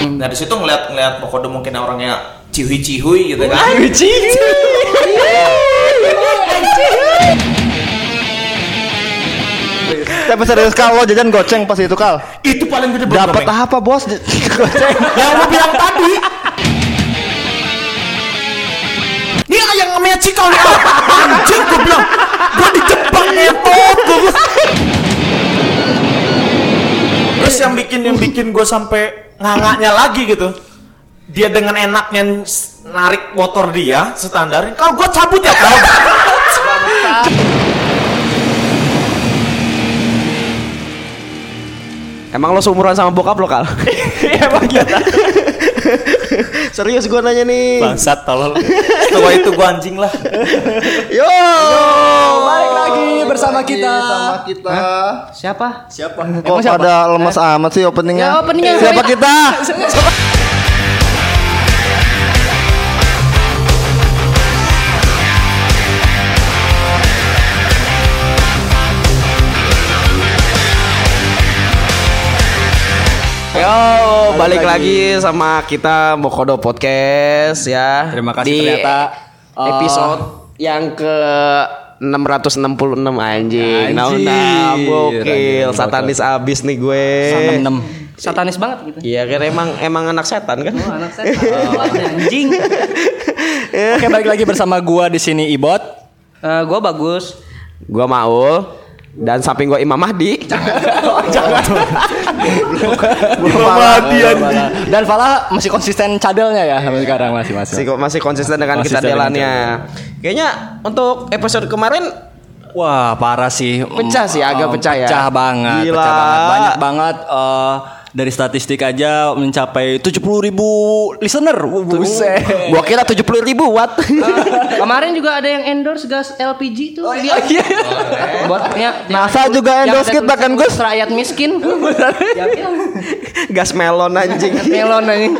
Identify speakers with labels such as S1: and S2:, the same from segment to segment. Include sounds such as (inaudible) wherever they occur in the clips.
S1: Dari Nah, situ ngeliat ngeliat Pokodo mungkin orangnya cihui-cihui gitu kan.
S2: Tapi serius kal lo jajan goceng pas itu kal.
S1: Itu paling gede banget.
S2: Dapat
S1: Meng.
S2: apa bos? (laughs) goceng.
S1: yang lu bilang tadi. Ini ayam namanya cikal nih. Al. Anjing gue bilang. Gue dijebak ngetot. gua. Terus yang bikin yang bikin gue sampai ngangaknya lagi gitu. Dia dengan enaknya narik motor dia standar. Kalau gue cabut ya kau.
S3: Emang lo seumuran sama bokap lo kal?
S2: Iya, serius gue nanya nih.
S1: Bangsat tolol. Setelah itu gue anjing lah.
S2: Yo.
S4: Balik lagi bersama kita.
S5: Sama kita.
S3: Siapa?
S5: Siapa?
S2: Kok pada lemes amat sih openingnya?
S4: Ya, openingnya.
S2: Siapa
S4: Sorry.
S2: kita?
S3: Yo, balik lagi. sama kita Bokodo Podcast ya.
S4: Terima kasih
S3: Di
S4: ternyata, eh,
S3: episode yang ke 666 anjing.
S4: Anjir.
S3: Nah, udah gokil.
S4: Anjing,
S3: Satanis abis nih gue.
S6: Satanis banget gitu.
S3: Iya kan emang emang anak setan kan?
S6: Oh, anak setan. anjing.
S4: Oke, balik lagi bersama gua di sini Ibot.
S6: Eh, gua bagus.
S3: Gue Maul dan samping gue Imam Mahdi.
S4: Dan Fala masih konsisten cadelnya ya sampai sekarang masih masih.
S3: Masih, masih konsisten dengan kita
S4: Konsisten dengan
S3: jalannya. Kayaknya untuk episode kemarin (laughs)
S4: Wah, parah sih.
S3: Pecah sih, agak
S4: Em,
S3: pecah ya.
S4: Pecah banget,
S3: Gila.
S4: pecah banget. Banyak banget eh, dari statistik aja mencapai 70.000 ribu listener. Ah, Buset.
S3: Gua kira 70 ribu watt
S6: Kemarin juga ada yang endorse gas LPG tuh. dia. iya. ya, Buatnya
S2: NASA juga endorse kita kan, Gus?
S6: Rakyat (laughs) miskin.
S3: Gas melon anjing
S4: (laughs)
S6: Melon anjing.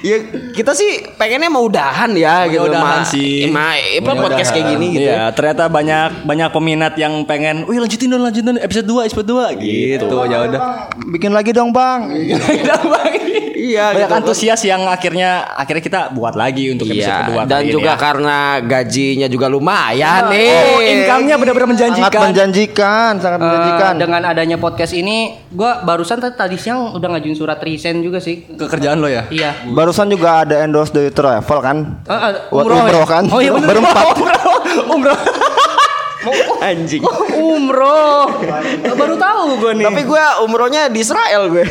S3: Ya kita sih pengennya mau udahan ya (laughs) gitu Ma.
S4: udahan sih.
S3: Eh, Ma, eh, apa podcast kayak gini gitu
S4: Iya, ternyata banyak banyak peminat yang pengen, "Wih, lanjutin dong, lanjutin dong, episode 2, episode 2." Gitu. ya udah.
S2: Bikin lagi dong bang.
S3: Iya
S4: Banyak
S3: gitu.
S4: antusias yang akhirnya akhirnya kita buat lagi untuk episode
S3: Iya,
S4: kedua
S3: dan
S4: kali ini
S3: juga
S4: ya.
S3: karena gajinya juga lumayan nih.
S4: Oh, income-nya benar-benar
S2: Sangat
S4: menjanjikan.
S2: menjanjikan, Ah. sangat menjanjikan.
S6: Eh, dengan adanya podcast ini, gua barusan tadi, tadi siang udah ngajuin surat resign juga sih.
S4: Kekerjaan lo ya?
S6: Iya.
S2: Barusan juga ada endorse dari travel kan?
S6: Eh, eh,
S2: Buat
S6: umroh ya?
S2: umroh kan?
S6: Oh iya bener. (laughs)
S2: Berempat.
S3: anjing.
S6: umroh. Baru tahu gua nih.
S3: Tapi gue umrohnya di Israel gue.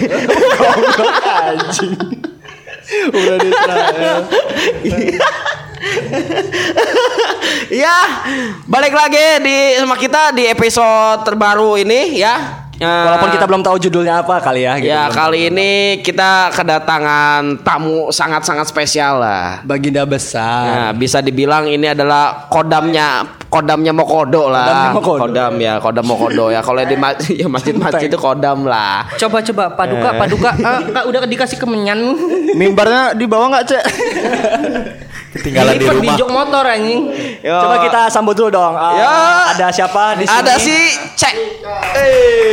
S4: Udah di Israel.
S3: ya, balik lagi di sama kita di episode terbaru ini ya. Eh,
S4: Walaupun kita belum tahu judulnya apa kali ya gitu.
S3: Ya
S4: Belum
S3: kali ini kita kedatangan tamu sangat-sangat spesial lah.
S4: Baginda besar.
S3: Nah, bisa dibilang ini adalah kodamnya kodamnya Mokodo lah.
S4: Kodamnya Mokodo.
S3: Kodam ya, kodam Mokodo ya. Kalau di ma- (laughs) ya masjid-masjid itu kodam lah.
S6: Coba coba paduka paduka Eh, Kak, udah dikasih kemenyan.
S2: Mimbarnya di bawah nggak cek?
S1: Ketinggalan di
S6: Dilipet
S1: rumah.
S6: jok motor anjing.
S3: Ya. Yo.
S4: Coba kita sambut dulu dong. Ah,
S3: Ya.
S4: Ada siapa di sini?
S3: Ada si Cek.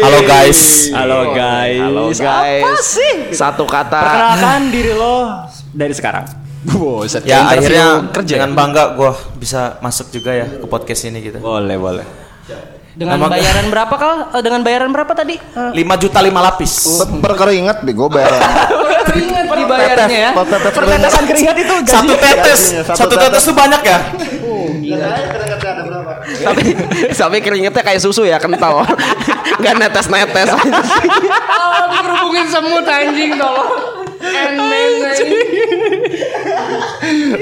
S1: Halo guys.
S4: Halo guys.
S3: Halo Oh, guys.
S4: Apa sih?
S3: Satu kata.
S4: Perkenalkan diri lo dari sekarang. Boset.
S1: Ya
S4: Interview
S1: akhirnya
S4: kerja.
S1: dengan bangga gue bisa masuk juga ya ke podcast ini gitu.
S4: Boleh, boleh.
S6: Dengan
S1: Nama-
S6: bayaran berapa kal? Eh, dengan bayaran berapa tadi? Eh,
S1: 5 juta 5 lapis.
S4: Oh.
S2: Perkeringat bego bayar.
S6: Ingat dibayarnya ya.
S2: Pepet pepet keringat.
S4: Pertetesan keringat itu
S1: Satu tetes.
S2: gajinya, satu
S1: Satu tetes tuh banyak ya?
S3: (laughs) tapi tapi keringetnya kayak susu ya
S2: (laughs)
S3: kental. Gak netes-netes.
S6: Oh, dikerubungin semut anjing tolong. Emen, anjing.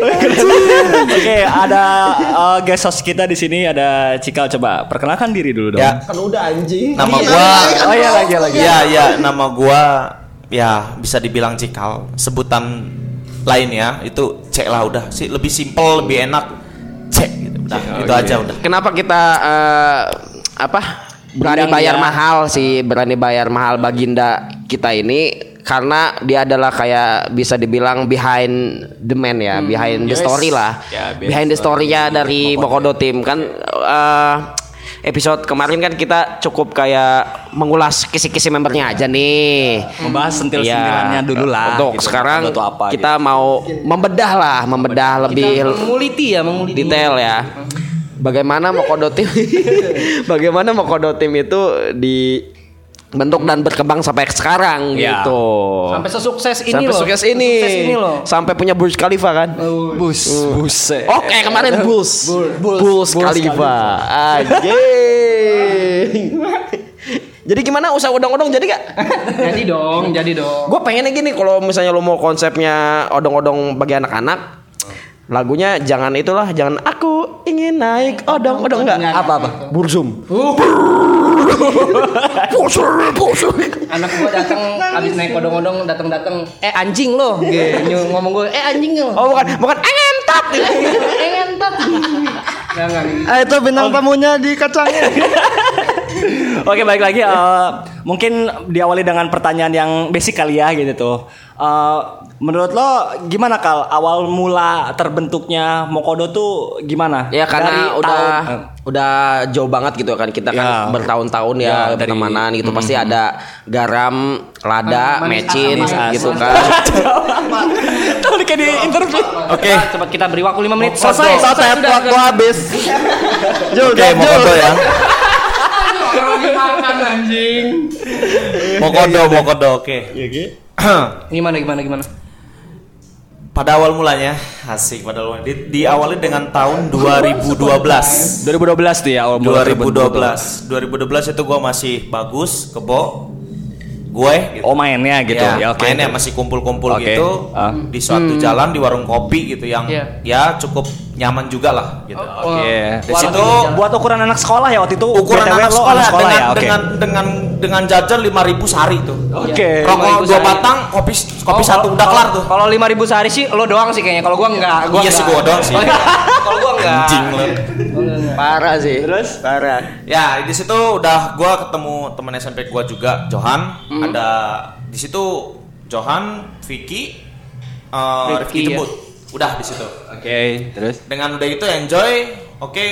S4: Oke, ada uh, guest host kita di sini ada Cikal coba perkenalkan diri dulu dong.
S1: Ya.
S3: kan udah anjing.
S1: Nama gua
S4: Oh iya lagi lagi.
S1: Iya iya nama gua ya bisa dibilang cikal. Sebutan lainnya itu cek lah udah sih lebih simpel, lebih enak. Cek gitu. Udah, itu
S4: oh,
S1: aja
S4: iya.
S1: udah.
S3: Kenapa kita eh, apa berani
S4: Berundang
S3: bayar
S4: dia.
S3: mahal sih berani bayar mahal baginda kita ini karena dia adalah kayak bisa dibilang behind the man ya behind the
S4: Hmm, yes.
S3: story lah
S4: Ya, behind
S3: behind the story-nya dari Bokodo Team kan eh, episode kemarin kan kita cukup kayak mengulas kisi-kisi membernya aja nih.
S4: Membahas
S3: Iya.
S4: sentil-sentilannya dulu lah.
S3: Untuk
S4: gitu.
S3: sekarang
S4: Atau apa gitu.
S3: kita mau membedah lah, membedah lebih
S6: Menguliti ya, menguliti.
S3: detail ya. Bagaimana Mokodo Tim (laughs) Bagaimana Mokodo Tim itu dibentuk dan berkembang sampai sekarang
S4: Ya.
S3: gitu.
S6: Sampai sesukses ini
S3: Sampai
S6: loh.
S3: sukses ini.
S6: Sesukses ini loh.
S3: Sampai punya Burj Khalifa kan?
S4: gitu. bus, buset.
S3: Oke kemarin
S4: eh,
S3: Bulls Bulls, Khalifa Anjing (laughs) Jadi gimana usaha odong-odong jadi gak?
S6: jadi dong, jadi dong.
S3: Gue pengennya gini kalau misalnya lo mau konsepnya odong-odong bagi anak-anak Lagunya jangan itulah Jangan aku ingin naik odong-odong Enggak apa-apa Burzum (laughs) Burzum Burzum
S6: Anak gua datang habis naik odong-odong datang-datang, eh anjing lo. Gitu. Nyu- Ngomong gue, eh anjing lo.
S3: Oh bukan Bukan engentot
S6: Eh ngentot. Enggak, enggak.
S2: Ah, itu bintang tamunya di kacangnya.
S4: Oke baik lagi eh, mungkin diawali dengan pertanyaan yang basic kali ya gitu tuh. Eh, menurut lo gimana kal awal mula terbentuknya Mokodo tuh gimana?
S3: Ya karena
S4: Dari
S3: udah
S4: tahun-
S1: (laughs)
S3: udah jauh banget gitu kan kita kan
S4: Ya.
S3: bertahun-tahun
S4: Ya,
S3: ya,
S4: dari-
S3: pertemanan gitu pasti ada garam, lada,
S6: Manis-
S3: mecin
S6: manis- manis-
S3: gitu
S6: manis-
S3: kan.
S4: Eh, tahu kayak di interview.
S1: Oke.
S6: Cepat kita beri waktu 5 menit.
S2: Soto,
S6: Selesai,
S2: soto,
S6: selesai, sudah,
S2: waktu
S6: sudah.
S2: habis. Jul,
S1: Oke,
S2: Jul, Jul.
S1: Mokodo
S4: (laughs)
S1: ya.
S6: Orang lagi makan anjing.
S1: Mokodo, Mokodo, oke.
S4: Iya.
S6: Gimana gimana gimana?
S1: Pada awal mulanya, asik pada awal di, diawali dengan tahun 2012.
S4: 2012 tuh ya awal mula terbentuk.
S1: 2012. 2012 itu gua masih bagus, kebo. Gue
S4: Oh mainnya gitu.
S1: Ya,
S4: Ya, oke.
S1: mainnya masih kumpul-kumpul
S4: Oke.
S1: gitu
S4: Ah.
S1: di suatu jalan di warung kopi gitu yang
S6: Hmm. Iya. Oh,
S1: ya cukup nyaman juga lah gitu.
S4: Oke.
S1: Di
S4: Buat-
S1: situ
S4: Oh. buat ukuran anak sekolah ya waktu itu
S1: ukuran
S4: BTW
S1: anak
S4: lo
S1: sekolah, dengan,
S4: ya. Oke.
S1: dengan dengan dengan jajan 5000 sehari tuh.
S4: Oke.
S6: Iya.
S1: Rokok
S6: 5.000
S1: dua
S6: sehari.
S1: batang, kopi kopi
S6: Oh,
S1: satu
S6: kalau-
S1: udah kelar
S6: kalau-
S1: tuh.
S6: Kalau 5000 sehari sih lo doang sih kayaknya. Kalau gua enggak, gua
S1: Iya
S6: enggak.
S1: sih, gua doang sih.
S6: Kalau (laughs) kalau gua enggak.
S1: Anjing lu.
S3: Parah sih. Terus parah.
S1: Ya, di situ udah gua ketemu teman SMP gua juga, Johan.
S4: Hmm.
S1: Ada di situ Johan, Vicky, eh
S6: Rifki,
S1: Rifki
S6: ya.
S1: Jebut. Udah di situ.
S4: Oke, terus
S1: dengan udah itu enjoy oke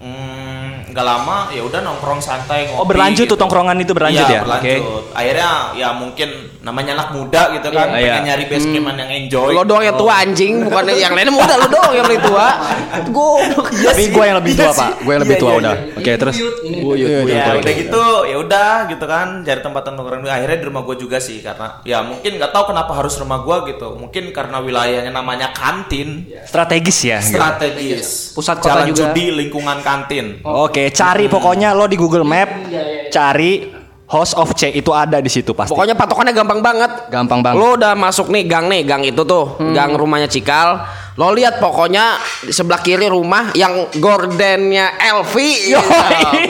S1: Hmm, nggak lama ya udah nongkrong santai ngopi
S4: Oh berlanjut
S1: gitu.
S4: tuh tongkrongan itu
S1: Iya,
S4: berlanjut ya.
S1: berlanjut akhirnya ya mungkin namanya anak muda gitu kan
S4: Iya,
S1: pengen
S4: iya.
S1: nyari base camp yang enjoy gitu.
S3: Lo
S4: ya,
S3: doang yang tua anjing, bukan yang lainnya muda lo doang yang paling tua. Iya Goblok.
S4: Tapi gue yang lebih tua, Pak. Gue yang
S3: Iya,
S4: lebih tua udah. Oke, terus. Iya,
S1: ya udah gitu ya udah gitu kan cari tempat nongkrong akhirnya di rumah gue juga sih karena ya mungkin nggak tahu kenapa harus rumah gue gitu mungkin karena wilayahnya namanya kantin
S4: Strategis ya. Iya.
S1: strategis
S6: Pusat kota
S1: jalan
S6: juga.
S1: judi lingkungan kantin
S4: Oke, cari pokoknya lo di Google Map cari House of C itu ada di situ pasti.
S3: Pokoknya patokannya gampang banget.
S4: gampang banget. Hmm.
S3: Lo udah masuk nih gang nih, gang itu tuh, gang rumahnya Cikal. Lo lihat pokoknya di sebelah kiri rumah yang gordennya Elvi. gitu.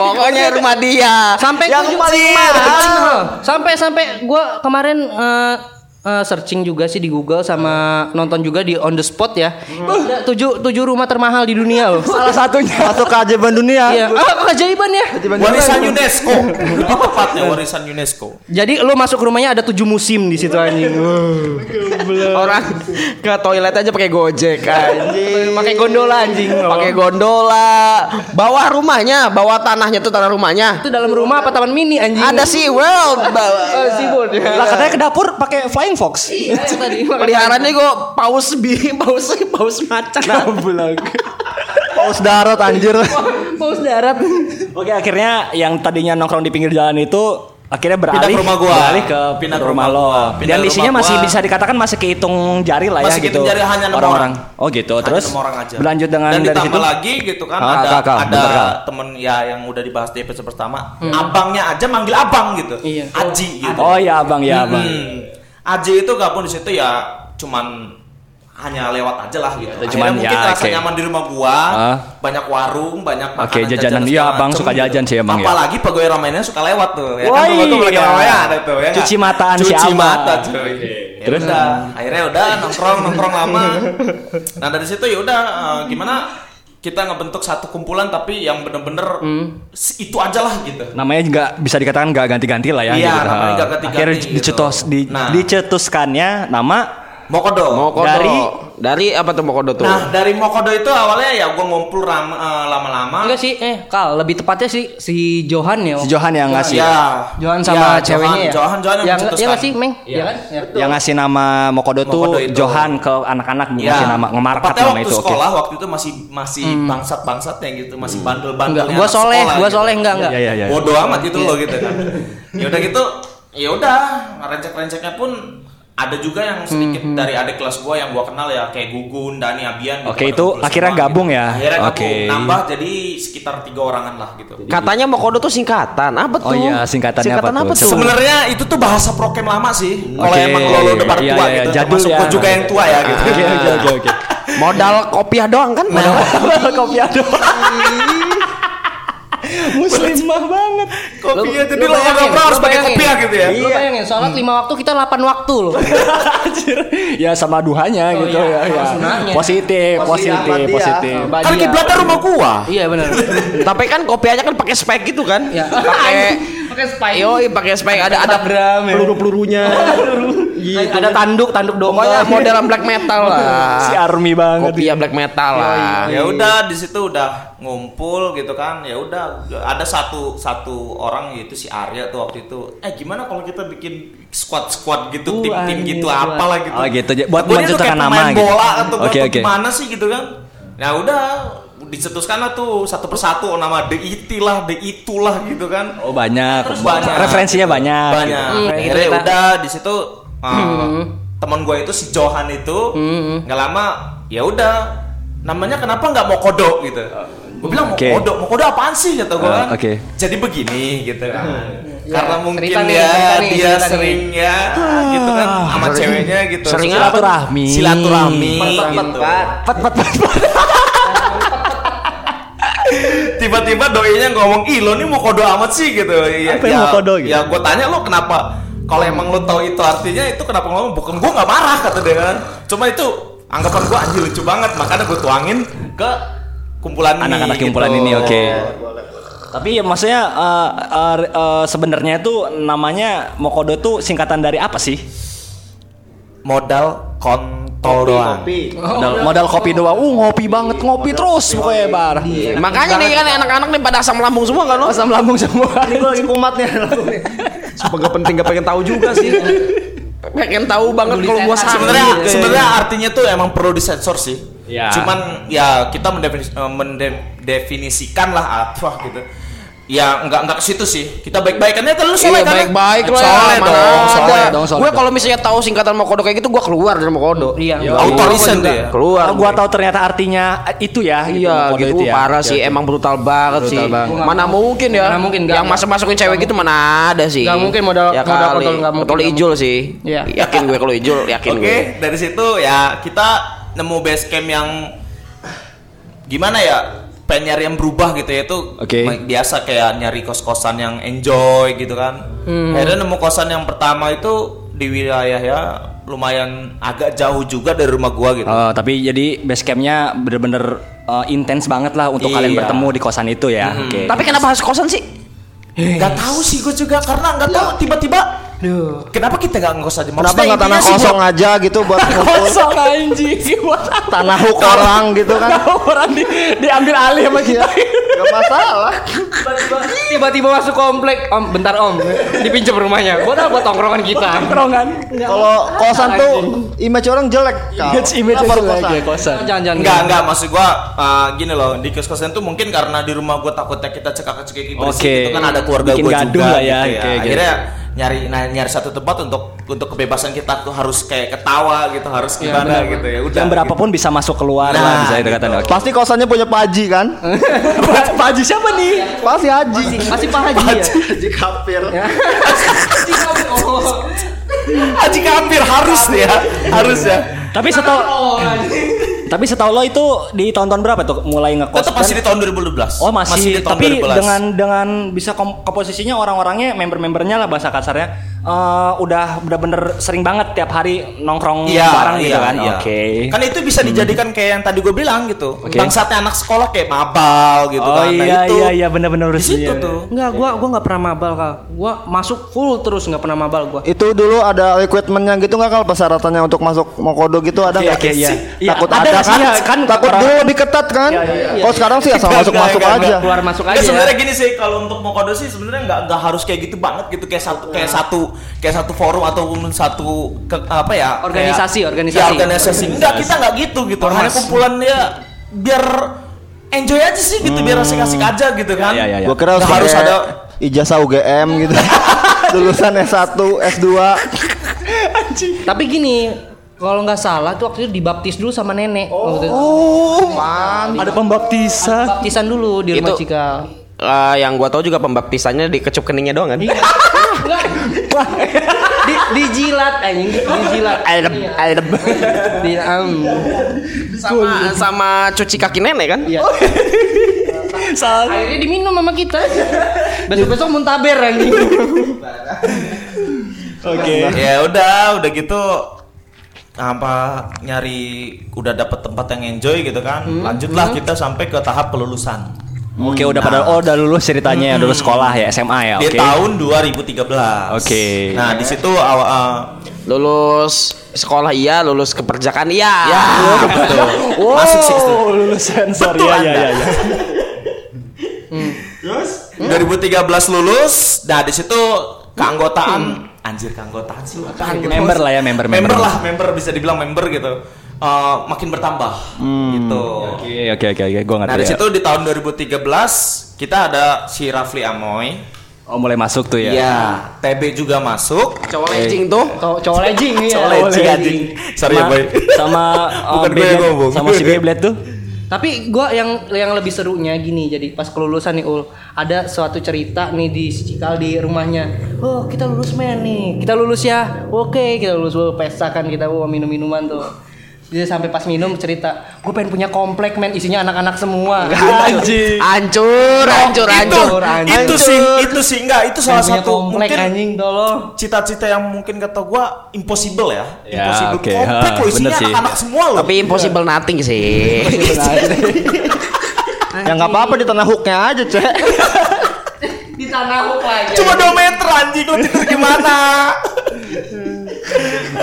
S3: Pokoknya rumah dia.
S6: Sampai
S3: yang
S6: kunjung-
S3: paling
S6: Anjing
S3: mahal.
S6: lo. Sampai sampai gua kemarin eh, eh, searching juga sih di Google sama nonton juga di on the spot ya. Ada tujuh tujuh rumah termahal di dunia (laughs) loh.
S4: Salah satunya.
S2: Masuk keajaiban dunia.
S6: Iya, ah, keajaiban ya.
S1: warisan
S4: (laughs)
S1: UNESCO lebih tepatnya warisan UNESCO
S6: Jadi lo masuk rumahnya ada tujuh musim di situ (laughs) anjing.
S3: Orang ke toilet aja pakai Gojek anjing.
S6: Pakai gondola anjing.
S3: Pakai gondola. Bawah rumahnya, bawah tanahnya tuh tanah rumahnya.
S6: itu dalam rumah apa taman mini anjing?
S3: Ada Sea World bawah.
S4: Oh,
S6: seaboard ya. (laughs)
S4: Lah katanya ke dapur pakai flying fox.
S6: tadi. (laughs)
S3: Peliharaannya kok paus bi, paus paus macan.
S2: Paus darat anjir.
S6: Paus darat.
S4: Oke, akhirnya yang tadinya nongkrong di pinggir jalan itu akhirnya beralih
S1: Pindah ke rumah gua.
S4: beralih ke
S1: Pindah ke rumah
S4: rumah, lo.
S1: gua. Pindah
S4: Dan
S1: ke
S4: isinya
S1: rumah
S4: masih
S1: gua.
S4: bisa dikatakan masih kehitung jari lah ya
S1: Masih
S4: gitu.
S1: kehitung jari, hanya enam
S4: orang-orang.
S1: orang.
S4: Oh gitu.
S1: Hanya
S4: Terus
S1: enam orang aja.
S4: berlanjut dengan
S1: dan
S4: dari
S1: ditambah
S4: situ.
S1: lagi gitu kan
S4: Ah,
S1: ada
S4: Kak, Kak,
S1: ada
S4: bentar, Kak.
S1: temen ya yang udah dibahas di episode pertama abangnya aja manggil abang gitu
S6: Iya.
S1: aji gitu
S4: Oh ya abang ya abang.
S1: Hmm. aji itu gabung di situ ya cuman hanya lewat aja lah gitu
S4: cuman
S1: Akhirnya mungkin
S4: ya,
S1: terasa
S4: oke.
S1: nyaman di rumah gua
S4: Ah.
S1: banyak warung banyak makanan
S4: Oke, jajanan. Iya,
S1: segala
S4: abang
S1: macem gitu.
S4: suka jajan sih emang ya.
S1: apalagi pegawai ramainya suka lewat tuh ya
S4: Wah,
S1: kan tuh lagi
S4: iya.
S1: ramai ada tuh ya nggak?
S4: Cuci mataan si
S1: cuci
S4: abang.
S1: mata cuy Ya
S4: Terus?
S1: udah, akhirnya udah nongkrong nongkrong lama. Nah dari situ ya udah eh, gimana kita ngebentuk satu kumpulan tapi yang bener-bener
S4: Hmm.
S1: se- itu aja lah gitu.
S4: namanya nggak bisa dikatakan nggak ganti-ganti lah ya.
S1: Iya, namanya
S4: gitu.
S1: nggak
S4: Ah.
S1: ganti-ganti
S4: Akhirnya
S1: gitu.
S4: dicetus, di-
S1: Nah.
S4: dicetuskannya nama
S1: Mokodo.
S3: Mokodo. Dari
S1: Dari
S3: dari apa tuh Mokodo tuh?
S1: Nah, dari Mokodo itu awalnya ya gua ngumpul ram- eh, lama-lama.
S6: Enggak sih, eh Kal, lebih tepatnya si si Johan ya.
S4: Si Johan yang ngasih
S1: Ya.
S6: Johan
S1: Ya,
S6: sama ceweknya
S1: Johan,
S6: ya.
S1: Johan, Johan
S6: yang
S1: yang
S6: Iya
S1: mencetuskan.
S6: nggak sih, Meng? Iya kan? Ya.
S4: yang ngasih nama
S1: Mokodo
S4: Mokodo, tuh
S1: itu. Ya.
S4: Johan ke anak-anak ngasih nama ngemarket
S1: Iya. Tepatnya
S4: nama
S1: waktu
S4: itu. Oke.
S1: sekolah waktu itu masih masih bangsat-bangsatnya gitu, masih bandel-bandel.
S6: Hmm. Enggak, gua soleh, gua
S1: gitu.
S6: soleh enggak enggak.
S4: Iya, iya, iya.
S1: Bodoh amat gitu loh gitu kan. (laughs) Ya udah gitu, ya udah rencek-renceknya pun ada juga yang sedikit
S6: Hmm,
S1: dari adik kelas gua yang gua kenal ya kayak Gugun, Dani, Abian. gitu,
S4: Oke,
S1: pada
S4: itu
S1: kumpul
S4: akhirnya
S1: semua
S4: gabung ya?
S1: Akhirnya
S4: Oke.
S1: gabung, nambah jadi sekitar tiga orangan lah gitu.
S3: Katanya Mokodo tuh singkatan. Apa tuh?
S4: Oh iya, singkatannya
S3: singkatan
S4: apa
S3: apa,
S4: tuh?
S3: tuh?
S1: Sebenarnya itu tuh bahasa prokem lama sih. Kalau
S4: Hmm. Oke.
S1: emang lo lo udah pada
S4: Iya,
S1: tua
S4: iya,
S1: gitu,
S4: jadul
S1: termasuk
S4: ya. Ah.
S1: gua juga yang tua ya gitu. (laughs)
S4: Oke oke oke oke.
S3: Modal kopiah doang kan? Modal
S4: Kopi
S1: (laughs)
S4: ada. Muslimah banget.
S1: Kopi ya,
S3: Iya,
S6: Lu-
S1: jadi
S6: lu
S1: lo
S6: bayangin,
S1: ngobrol harus
S6: lu
S1: pakai
S6: bayangin. Iya,
S1: kopi ya gitu ya.
S4: Iya.
S6: Lu bayangin sholat lima waktu kita 8 waktu loh. Kan
S4: Anjir. ya sama duhanya
S6: Oh,
S4: gitu
S6: iya,
S4: ya, ya.
S6: sama sunahnya.
S4: Positif, positif,
S2: Positif,
S4: positif.
S2: Ahmad
S1: Kan kiblatnya rumah gua.
S6: Iya benar.
S3: (laughs) Tapi kan kopiahnya kan pakai spek gitu kan? (laughs)
S6: Ya.
S3: Pakai
S6: (laughs) pakai spike.
S3: Yoi, pakai spek ada ada
S6: drum ya.
S2: peluru-pelurunya.
S6: Ada tanduk, tanduk
S3: pokoknya
S6: domba.
S3: model black metal lah.
S4: (laughs) Si army banget.
S3: Kopiah black metal lah.
S1: ya
S3: Iya,
S1: udah di situ udah ngumpul gitu kan ya udah ada satu satu orang yaitu si Arya tuh waktu itu eh gimana kalau kita bikin squad squad gitu tim tim gitu apalah gitu
S4: Oh, gitu. Ja- buat
S1: Takutnya tuh
S4: mencetuskan
S1: kayak
S4: nama
S1: pemain
S4: gitu.
S1: bola atau
S4: Oke,
S1: atau
S4: oke.
S1: gimana sih gitu kan nah udah dicetuskan lah tuh satu persatu nama DIT lah DIT lah gitu kan
S4: Oh banyak.
S1: Terus banyak.
S4: Referensinya banyak. gitu.
S1: banyak Iya.
S6: gitu,
S1: akhirnya udah di situ uh,
S6: Hmm.
S1: teman gue itu si Johan itu nggak lama ya udah namanya kenapa nggak mau kodo gitu gue bilang mau
S4: Ah. Oke.
S1: kodo mau kodo apaan sih kata gue
S4: Ah,
S1: kan
S4: oke. Ah.
S1: jadi begini gitu kan karena mungkin
S6: cerita nih,
S1: ya
S6: cerita nih,
S1: dia
S6: cerita nih.
S1: sering ya gitu kan sama ceweknya gitu
S3: sering
S1: Silatur-
S4: Ah. silaturahmi.
S1: silaturahmi
S6: Empat, empat,
S1: gitu.
S6: empat.
S4: Pet pet pet.
S1: tiba-tiba doinya ngomong ih lo nih mau kodo amat sih gitu ya,
S4: Apa yang
S1: ya-
S4: mau kodo gitu?
S1: ya gue tanya lo kenapa kalau emang lo tahu itu artinya itu kenapa ngomong bukan gue nggak marah kata dia kan cuma itu anggapan gue anjir lucu banget makanya gue tuangin ke kumpulan ini,
S4: Anak-anak
S1: gitu.
S4: kumpulan ini oke.
S6: Iya,
S4: Tapi ya maksudnya eh, eh, eh, sebenarnya tuh namanya Mokodo tuh singkatan dari apa sih?
S1: modal kontol doang
S6: Oh.
S4: Modal, modal kopi doang. Uh ngopi banget, ngopi terus pokoknya bar.
S6: Iya.
S3: Makanya nih kan anak-anak nih pada asam lambung semua kan lo.
S4: Asam lambung semua.
S6: Ini gua lagi kumat nih langsung nih.
S2: Semoga penting gak pengen tahu juga sih.
S3: Pengen kan tahu banget kalau gua sakit.
S1: Nah, sebenarnya sebenarnya artinya tuh emang perlu disensor sih
S4: Ya.
S1: cuman ya kita mendefinis- eh, mendefinisikan lah apa gitu ya nggak nggak ke situ sih kita baik-baikannya kan lu soleh
S3: Iya
S1: kan?
S3: baik-baik lah ya,
S1: soleh
S3: mana
S1: dong
S3: ada.
S1: soleh
S4: dong, soleh
S3: Gue
S4: dong.
S3: kalau misalnya tahu singkatan Mokodo kayak gitu gue keluar dari Mokodo.
S6: Iya.
S1: Autorisen
S3: Gua juga
S1: dia.
S3: Keluar.
S4: Oh, gua tahu ternyata artinya itu ya.
S3: Iya
S4: Mokodo
S3: gitu,
S4: itu ya.
S3: parah sih emang brutal banget sih. Mana mungkin ya?
S6: Mana mungkin, nggak,
S3: yang
S6: nggak.
S3: masuk masukin cewek gitu mana ada sih?
S6: Nggak mungkin modal-
S3: ya
S6: modal
S3: kali.
S6: kontol nggak mungkin,
S3: Kecuali
S6: nggak
S3: ijul sih.
S6: Iya.
S3: Yakin gue kalau ijul, yakin
S1: Oke, (laughs)
S3: gue.
S1: dari situ ya kita nemu base camp yang gimana ya? Pengen nyari yang berubah gitu ya itu
S4: Oke.
S1: ma- biasa kayak nyari kos-kosan yang enjoy gitu kan.
S2: Hmm.
S1: Akhirnya nemu kosan yang pertama itu di wilayah ya lumayan agak jauh juga dari rumah gua
S3: Ah.
S1: gitu.
S4: Oh, tapi jadi base campnya bener-bener eh, intens banget lah untuk kalian
S1: Iya.
S4: bertemu di kosan itu ya. Oke.
S3: Tapi kenapa harus kosan sih?
S1: Gak tahu sih gua juga karena gak tahu tiba-tiba
S6: Duh.
S1: kenapa kita gak ngekos aja
S2: Ya. Kenapa
S1: Maksudnya
S2: nggak tanah
S1: intinya sih
S2: kosong
S1: buat-
S2: aja gitu buat ngumpul
S4: anjing buat apa?
S2: tanah huk orang gitu kan?
S4: Orang di, diambil alih sama kita.
S3: Iya.
S2: Gak masalah.
S6: Tiba-tiba masuk komplek, Om, bentar Om. Dipinjam rumahnya. Buat apa buat tongkrongan kita?
S4: Tongkrongan.
S2: Kalau kosan tuh image orang jelek. Kal.
S4: Image image ya.
S2: Kenapa
S4: baru
S2: lu kosan?
S4: lagi kosan.
S6: Jangan-jangan.
S1: Enggak, enggak, maksud gua uh, gini loh, di kos-kosan tuh mungkin karena di rumah gua takutnya kita cekak-cekik berisik
S4: Oke.
S1: gitu kan ada keluarga
S4: Bikin
S1: gua
S4: gaduh
S1: juga
S4: lah ya,
S1: gitu
S4: oke, oke.
S1: Akhirnya nyari nah, nyari satu tempat untuk untuk kebebasan kita tuh harus kayak ketawa gitu, harus gimana gitu ya. Udah.
S4: Jam berapapun bisa masuk keluar
S1: Nah,
S4: lah bisa itu
S1: gitu.
S4: kata oke.
S2: Pasti kosannya punya Pak Haji kan?
S4: Pak Haji siapa nih?
S2: Pasti Haji.
S6: Masih Pak Haji ya?
S2: Haji kafir.
S6: Oh.
S1: Haji kafir harus ya, harus ya.
S4: Tapi setahu Tapi setahu lo itu di tahun-tahun berapa tuh mulai ngekos?
S1: Tetap
S4: Dan-
S1: masih di tahun 2012.
S4: kan- Oh masih,
S1: di tahun
S4: tapi
S1: 2012.
S4: dengan dengan bisa kom- komposisinya orang-orangnya member-membernya lah bahasa kasarnya eh, udah bener-bener sering banget tiap hari nongkrong
S1: Iya,
S4: bareng
S1: iya,
S4: gitu kan.
S1: iya.
S4: Oke. Hmm.
S1: Kan itu bisa dijadikan kayak yang tadi gue bilang gitu.
S4: Oke.
S1: Bangsatnya anak sekolah kayak mabal gitu
S4: Oh
S1: kan. Nah,
S4: iya
S1: itu
S4: iya iya bener-bener
S1: Di situ
S4: iya.
S1: tuh.
S6: Enggak, gua gua nggak pernah mabal kal. Gua masuk full terus nggak pernah mabal gua.
S2: Itu dulu ada equipmentnya gitu nggak kalau persyaratannya untuk masuk Mokodo gitu ada
S4: Iya,
S2: nggak?
S4: iya, iya. Iya,
S2: Takut
S4: ada
S2: ada,
S4: nggak sih?
S2: kan?
S4: Iya, kan
S2: Takut
S4: orang-
S2: dulu lebih ketat kan? Oh sekarang sih asal
S1: Enggak,
S2: masuk
S1: enggak,
S2: masuk
S1: enggak,
S2: aja.
S1: enggak.
S6: Keluar masuk
S1: Nggak,
S6: aja. ya.
S1: sebenarnya gini sih kalau untuk Mokodo sih sebenarnya nggak nggak harus kayak gitu banget gitu kayak satu kayak
S6: Iya.
S1: satu kayak satu forum ataupun satu ke- apa ya kayak-
S6: Organisasi, organisasi.
S1: Ya, organisasi. Enggak kita nggak gitu gitu. Hanya kumpulan ya biar enjoy aja sih gitu biar asik-asik aja gitu kan.
S4: Hmm. iya, iya, iya.
S2: Gua kira
S1: Nggak harus ada
S2: ijazah UGM gitu. Lulusan S1, S2.
S6: Tapi gini, kalau nggak salah tuh waktu itu dibaptis dulu sama nenek. Waktu
S1: Oh,
S6: itu.
S4: Ada pembaptisan.
S6: Baptisan dulu di rumah
S3: Itu-
S6: Cikal.
S3: Eh, yang gua tahu juga pembaptisannya dikecup keningnya doang kan.
S6: Enggak. di, dijilat anjing, dijilat.
S3: Adem,
S6: Iya.
S3: adem.
S6: Di, am.
S3: sama sama cuci kaki nenek kan?
S6: Iya. Akhirnya diminum sama kita.
S1: (laughs)
S6: Besok-besok muntaber anjing.
S4: Oke.
S1: ya udah udah gitu apa nyari udah dapet tempat yang enjoy gitu kan
S6: Hmm.
S1: lanjutlah kita sampai ke tahap kelulusan
S4: Oke
S1: Nah.
S4: udah pada oh udah lulus ceritanya ya, lulus sekolah ya SMA ya.
S1: di
S4: Oke.
S1: tahun 2013
S4: Oke.
S1: nah di situ aw- uh,
S3: Lulus sekolah iya, lulus keperjakan iya. Ya.
S1: betul
S4: Wow,
S1: Gitu. masuk sih itu.
S4: Oh, lulus sensor
S1: Betul
S4: ya
S1: Anda.
S4: ya ya. ya.
S1: 2013 lulus nah di situ keanggotaan anjir keanggotaan sih apa gitu.
S4: Member lah ya, member, member.
S1: member lah member bisa dibilang member gitu Uh, makin bertambah gitu
S4: Oke oke oke oke gua ngerti.
S1: Nah, di
S4: ya.
S1: situ di tahun 2013 kita ada si Rafli Amoy.
S4: Oh mulai masuk tuh
S1: Iya,
S4: ya.
S1: TB juga masuk.
S3: Cowok lencing tuh.
S6: Cowok cowok anjing ya.
S1: Cowok lencing anjing. Sorry ya,
S4: Sama-
S1: Boy.
S4: Sama uh,
S1: (laughs) Bukan gue yang
S4: Beyblade-
S1: ngomong.
S4: Sama si Beyblade
S1: (laughs)
S4: tuh.
S6: Tapi gua yang yang lebih serunya gini jadi pas kelulusan nih Ul ada suatu cerita nih di si Cikal di rumahnya. Oh kita lulus men nih, kita lulus ya. Oke kita lulus oh, pesta kan kita oh, minum minuman tuh. Dia sampai pas minum cerita, gue pengen punya komplek men isinya anak-anak semua.
S4: Anjing.
S3: Hancur, hancur,
S1: itu,
S3: hancur.
S1: itu
S3: Hancur.
S1: sih, itu sih enggak, itu
S6: Pengen
S1: salah
S6: punya
S1: satu
S6: komplek
S1: mungkin
S6: anjing tolong.
S1: cita-cita yang mungkin kata gua impossible ya.
S4: Ya,
S1: impossible
S4: oke.
S1: komplek
S4: Ha,
S1: loh isinya
S4: bener sih.
S1: anak-anak semua loh.
S3: Tapi impossible nothing sih.
S2: Ya nggak apa-apa di tanah hooknya aja cek.
S6: Di tanah aku aja.
S1: cuma 2 meter anjing lu tidur (laughs) gimana?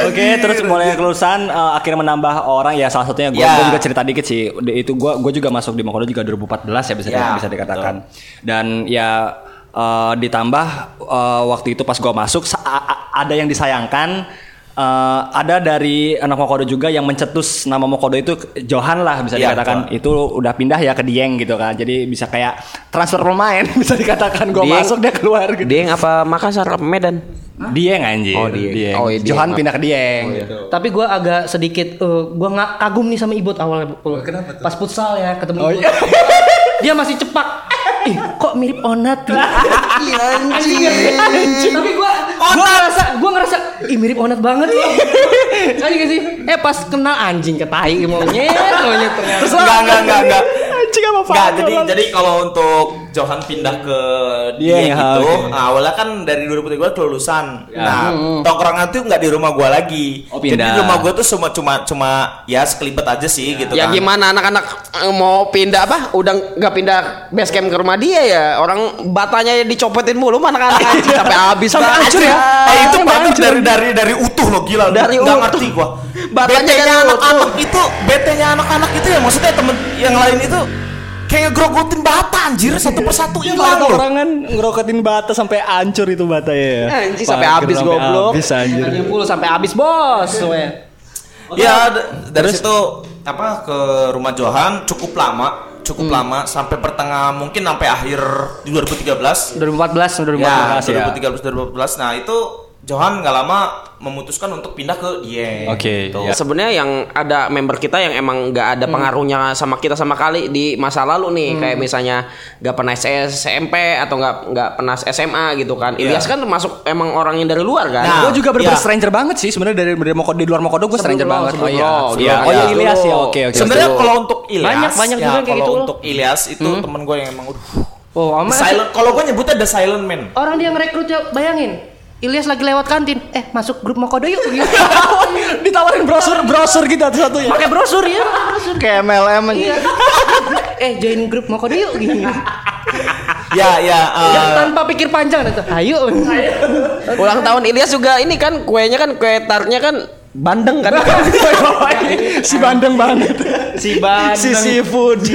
S4: Oke, terus mulai kelulusan eh, akhirnya menambah orang ya salah satunya gue
S1: Ya.
S4: juga cerita dikit sih. Di- itu gue gue juga masuk di Makodo juga 2014 ya bisa
S1: Ya,
S4: bisa dikatakan. Dan ya eh, ditambah eh, waktu itu pas gue masuk sa- a- a- ada yang disayangkan eh, ada dari anak Makodo juga yang mencetus nama Makodo itu ke- Johan lah bisa
S1: Ya,
S4: dikatakan itu udah pindah ya ke Dieng gitu kan. Jadi bisa kayak transfer pemain (laughs) bisa dikatakan gue
S3: Dieng.
S4: masuk dia keluar gitu.
S3: Dia yang apa Makassar apa Medan?
S4: Dieng anjir.
S3: Oh, Dieng.
S4: Dieng.
S3: Oh, iya, Dieng.
S4: Johan pindah ke Dieng.
S6: Tapi gua agak sedikit, eh, gua nggak kagum nih sama Ibut awalnya. Pul. Pas futsal ya ketemu Ibut. (laughs) Dia masih cepak. Ih, kok mirip Onat ya? Anjing, anjing. Tapi gua, gua ngerasa, gua ngerasa, ih mirip Onat banget loh. Anjing gak sih? Eh pas kenal anjing ketai monyet, monyet ternyata.
S1: Terus enggak enggak enggak enggak.
S4: Anjing apa
S1: Enggak, jadi jadi kalau untuk Johan pindah ke dia
S4: Iya,
S1: gitu,
S4: oke.
S1: nah, awalnya kan dari 2003 kelulusan. Nah, tongkrongan tuh nggak di rumah gua lagi.
S4: Oh,
S1: Jadi
S4: pindah.
S1: di rumah gua tuh cuma cuma cuma ya sekelibet aja sih gitu
S3: Ya
S1: kan.
S3: gimana anak-anak eh, mau pindah apa? Udah nggak pindah base camp ke rumah dia ya. Orang batanya ya dicopetin mulu sama
S1: (laughs)
S3: anak-anak anjing
S1: Iya.
S3: sampai habis
S4: Sampai
S3: banget.
S4: hancur ya?
S1: Eh, itu
S3: Sampai
S1: banget
S3: hancur.
S1: dari dari dari utuh loh gila.
S3: Dari
S1: Nggak
S3: utuh.
S1: ngerti gua.
S3: Batanya
S1: BT-nya
S3: dari
S1: anak-anak itu, BT-nya anak-anak itu ya maksudnya temen yang lain itu kayak ngegrogotin bata anjir satu persatu
S4: Iya,
S1: hilang loh.
S4: Orang ngeroketin bata sampai hancur itu bata ya.
S3: Anjing, sampai habis, goblok.
S4: Habis anjir.
S6: Anjing pul sampai habis bos. we.
S4: Iya.
S1: Ya d- dari situ apa ke rumah Johan cukup lama,
S4: Hmm.
S1: cukup lama sampai pertengahan mungkin sampai akhir di 2013. Ya,
S6: 2014, 2014.
S4: 2014, ya.
S1: 2013 2014. Nah, itu Johan nggak lama memutuskan untuk pindah ke Dieng.
S4: Oke,
S1: gitu.
S4: ya.
S3: Sebenarnya yang ada member kita yang emang nggak ada
S1: Hmm.
S3: pengaruhnya sama kita sama kali di masa lalu nih, kayak misalnya nggak pernah S- SMP atau nggak nggak pernah SMA gitu kan. Ilyas kan termasuk emang orang yang dari luar
S1: Iya.
S3: kan.
S1: Nah,
S3: Gua
S4: Gue juga
S1: Iya.
S4: berbuat stranger banget sih sebenarnya dari dari Mokodo di luar Mokodo gue stranger
S3: lo,
S4: banget.
S3: sebelum lo, sebelum
S4: iya.
S1: lo.
S4: Oh iya
S1: Iya.
S4: Ilyas ya. Oke oke.
S1: Sebenarnya kalau untuk Ilyas
S6: Banyak, banyak
S1: ya,
S6: juga kayak
S1: kalau
S6: gitu loh.
S1: untuk Ilyas itu
S4: Hmm?
S1: temen gue yang emang udah
S6: Oh, ama-
S1: silent. Kalau gue nyebutnya The Silent Man.
S6: orang dia ngerekrutnya bayangin. Ilyas lagi lewat kantin, eh masuk grup Mokodo yuk. Gitu.
S4: ditawarin brosur brosur gitu satu satunya.
S6: Pakai brosur ya, brosur. Iya.
S2: Kayak MLM aja.
S6: eh join grup Mokodo yuk gini.
S2: Iya.
S1: ya
S4: (laughs)
S1: ya. eh,
S6: Yang tanpa pikir panjang itu. Ayo.
S3: Ulang tahun Ilyas juga ini kan kuenya kan kue tartnya kan bandeng kan.
S4: (laughs) si bandeng banget.
S3: si bandeng.
S4: Si seafood.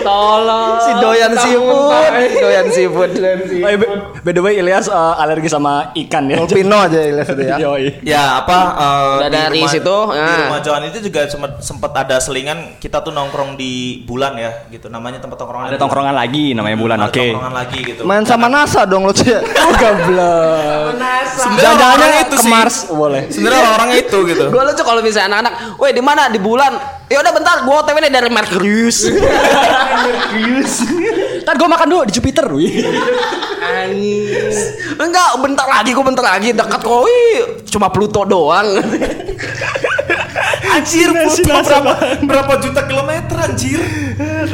S3: tolong.
S2: Si doyan seafood, doyan seafood.
S4: Oh, iya, by- by the way Ilyas eh, alergi sama ikan ya.
S2: Pino aja ya lihat itu ya.
S4: (laughs) Yoi.
S1: Ya apa eh,
S3: Udah
S1: di
S3: dari
S1: rumah-
S3: situ,
S1: di
S6: ah.
S3: nah.
S1: rumah Johan itu juga sempet, sempet ada selingan kita tuh nongkrong di bulan ya gitu namanya tempat tongkrongan
S4: Ada tongkrongan lagi namanya bulan.
S1: Ada
S4: Oke.
S1: tongkrongan lagi gitu
S2: Main sama NASA dong lu sih.
S4: Oh gablek.
S1: Jangan-jangan
S4: Jangan-jangan
S1: itu
S4: ke
S1: sih.
S4: Mars boleh.
S1: sebenarnya orang itu gitu
S3: Gue lucu kalau misalnya anak-anak, weh di mana di bulan? Ya udah bentar, gue otw nih dari Merkurius.
S4: Ntar gue Kan makan dulu di Jupiter. wih.
S3: Enggak, bentar lagi gue bentar lagi dekat kok. Wih, cuma Pluto doang.
S1: anjir Pluto berapa (laughs) berapa juta kilometer anjir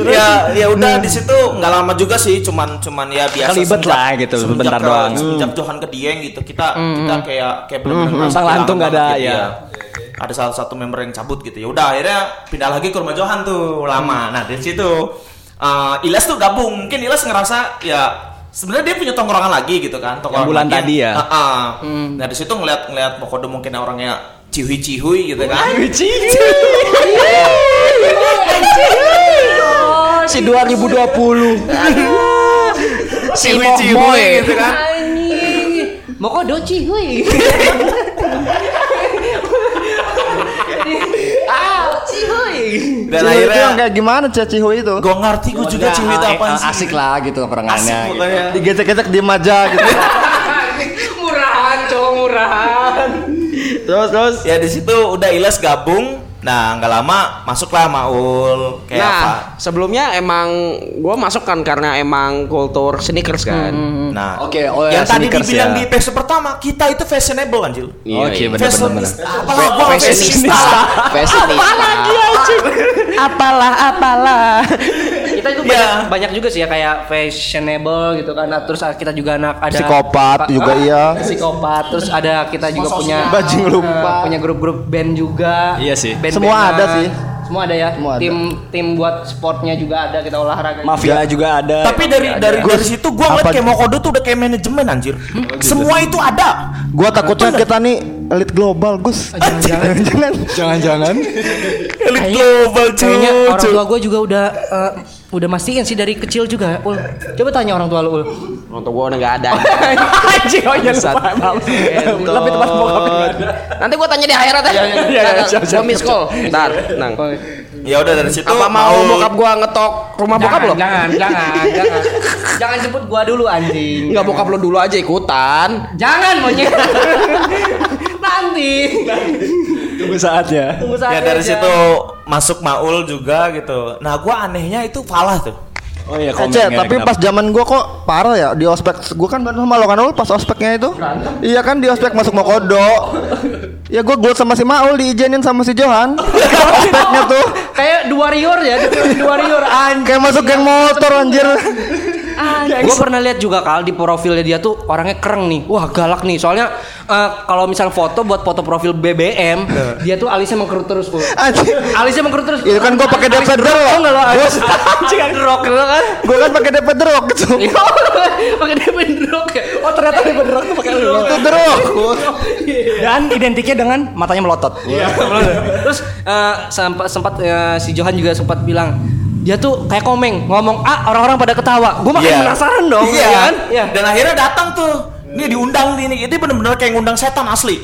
S1: ya ya udah
S4: Hmm.
S1: di situ nggak lama juga sih cuman cuman ya biasa
S4: Kelibet
S1: semenjak-
S4: lah gitu,
S1: semenjak
S4: bentar
S1: ke-
S4: doang. Hmm,
S1: semenjak Johan ke Dieng gitu kita kita kayak kayak benar-benar merasa
S4: Sang
S1: kehilangan
S4: lantung nggak ada,
S1: banget gitu
S4: ya.
S1: ada salah satu member yang cabut gitu ya udah akhirnya pindah lagi ke rumah Johan tuh
S4: Hmm.
S1: lama nah dari situ eh, Ilas tuh gabung mungkin Ilas ngerasa ya sebenarnya dia punya tongkrongan lagi gitu kan tongkrongan
S4: bulan
S1: lagi.
S4: tadi ya?
S1: Heeh. nah di situ ngeliat ngeliat Mokodo mungkin orangnya cihui cihui gitu kan
S6: Oh,
S3: si 2020. si Mohmoy.
S2: Iya
S1: gitu kan
S6: Anjing. Mokodo cihuy. Ah, cihuy.
S1: dan
S2: Cihui itu
S1: akhirnya
S2: yang kayak gimana Cia Cihui itu?
S1: gue ngerti gue juga ciwi itu apaan sih
S4: Asik lah gitu
S1: asik
S4: tongkrongannya. gitu.
S1: pokoknya
S2: Digetek-getek di aja gitu.
S6: Murahan, cowok murahan.
S2: Terus terus
S1: ya di situ udah Iles gabung nah nggak lama masuklah Maul kayak
S3: nah,
S1: apa
S3: sebelumnya emang gue masuk kan karena emang kultur sneakers kan.
S1: nah
S4: Oke, oh ya,
S1: yang tadi
S4: sneakers
S1: dibilang
S4: ya.
S1: di episode pertama kita itu fashionable anjir
S3: Iya,
S4: Oke,
S3: iya.
S4: benar-benar.
S1: apalah gua
S3: Fashionista.
S1: fashionista
S3: Fashionista.
S6: Apalah, apalah. Kita
S2: Iya.
S6: itu banyak,
S1: Ya.
S6: banyak juga sih ya kayak fashionable gitu kan. Nah, terus kita juga anak ada
S2: Psikopat
S6: Pa-
S2: juga iya.
S6: Psikopat. Terus ada kita juga punya
S2: Bajing lupa.
S6: Eh, punya grup-grup band juga.
S4: Iya sih.
S6: Band-bandan.
S2: Semua ada sih.
S6: Semua ada ya.
S2: Semua ada.
S6: Tim tim buat sportnya juga ada kita olahraga.
S4: Mafia juga ada.
S1: tapi dari dari dari situ gua ngeliat
S2: Apa-
S1: kayak Mokodo tuh udah kayak manajemen anjir semua itu ada
S2: (laughs) gua takutnya kita nih elit global, Gus. Jangan-jangan.
S4: jangan-jangan
S1: elit global
S6: Kayaknya orang
S1: cuy
S6: tua gue juga udah eh, udah mastiin sih dari kecil juga. Ul, coba tanya orang tua lu, Ul.
S3: Untuk gue udah nggak ada.
S4: (laughs)
S3: Gitu.
S4: Anjing, oh iya lupa maaf. Lebih tepat bokap nggak ada.
S3: Nanti gue tanya di akhirat ya.
S4: iya, iya, siap,
S3: Gue
S4: siap,
S3: miss call. Ntar, nang.
S1: ya udah dari situ Ya,
S3: Apa mau bokap gue ngetok rumah
S4: Nah,
S3: bokap lo?
S6: Jangan, jangan, jangan. jangan jemput gua dulu anjing.
S3: Enggak bokap lo dulu aja ikutan.
S6: Jangan monyet. (laughs) Nanti.
S4: Tunggu saatnya.
S6: Tunggu
S1: ya
S6: saatnya
S1: dari
S6: aja.
S1: situ masuk Maul juga gitu nah gua anehnya itu Falah tuh
S4: Oh iya,
S2: Eh, Cia, tapi pas zaman gua kok parah ya di ospek. Gua kan bantu sama lo kan Ul, pas ospeknya itu. Iya kan di ospek masuk Mokodo. ya gua gua sama si Maul diijenin sama si Johan. ospeknya tuh
S6: Kayak dua warrior ya, dua warrior anjing.
S2: kayak masuk geng motor anjir.
S6: Gue pernah lihat juga kal di profilnya dia tuh orangnya kereng nih, wah galak nih. Soalnya eh, kalau misal foto buat foto profil BBM, dia tuh alisnya mengkerut terus Ul.
S2: Anjir.
S6: Alisnya mengkerut terus.
S2: Itu
S6: (laughs)
S2: kan gua pakai
S6: Alis-
S2: DP Drock.
S6: Tau nggak lo alis?
S2: Gua-
S6: Anjing kan rock lo kan.
S2: Gua kan pakai DP drop gitu.
S6: Iya, pakai DP Drock ya. Oh ternyata DP Drock tuh pakai lu.
S2: Itu drop.
S4: dan identiknya dengan matanya melotot.
S6: Iya. Terus eh, sempat sempat eh, si Johan juga sempat bilang dia tuh kayak komeng ngomong ah orang-orang pada ketawa. Gue makin
S1: Iya.
S6: penasaran dong,
S1: Iya
S6: ya
S1: kan?
S6: kan? Iya.
S1: Dan akhirnya datang tuh. Ini diundang nih, ini ini bener-bener kayak ngundang setan asli.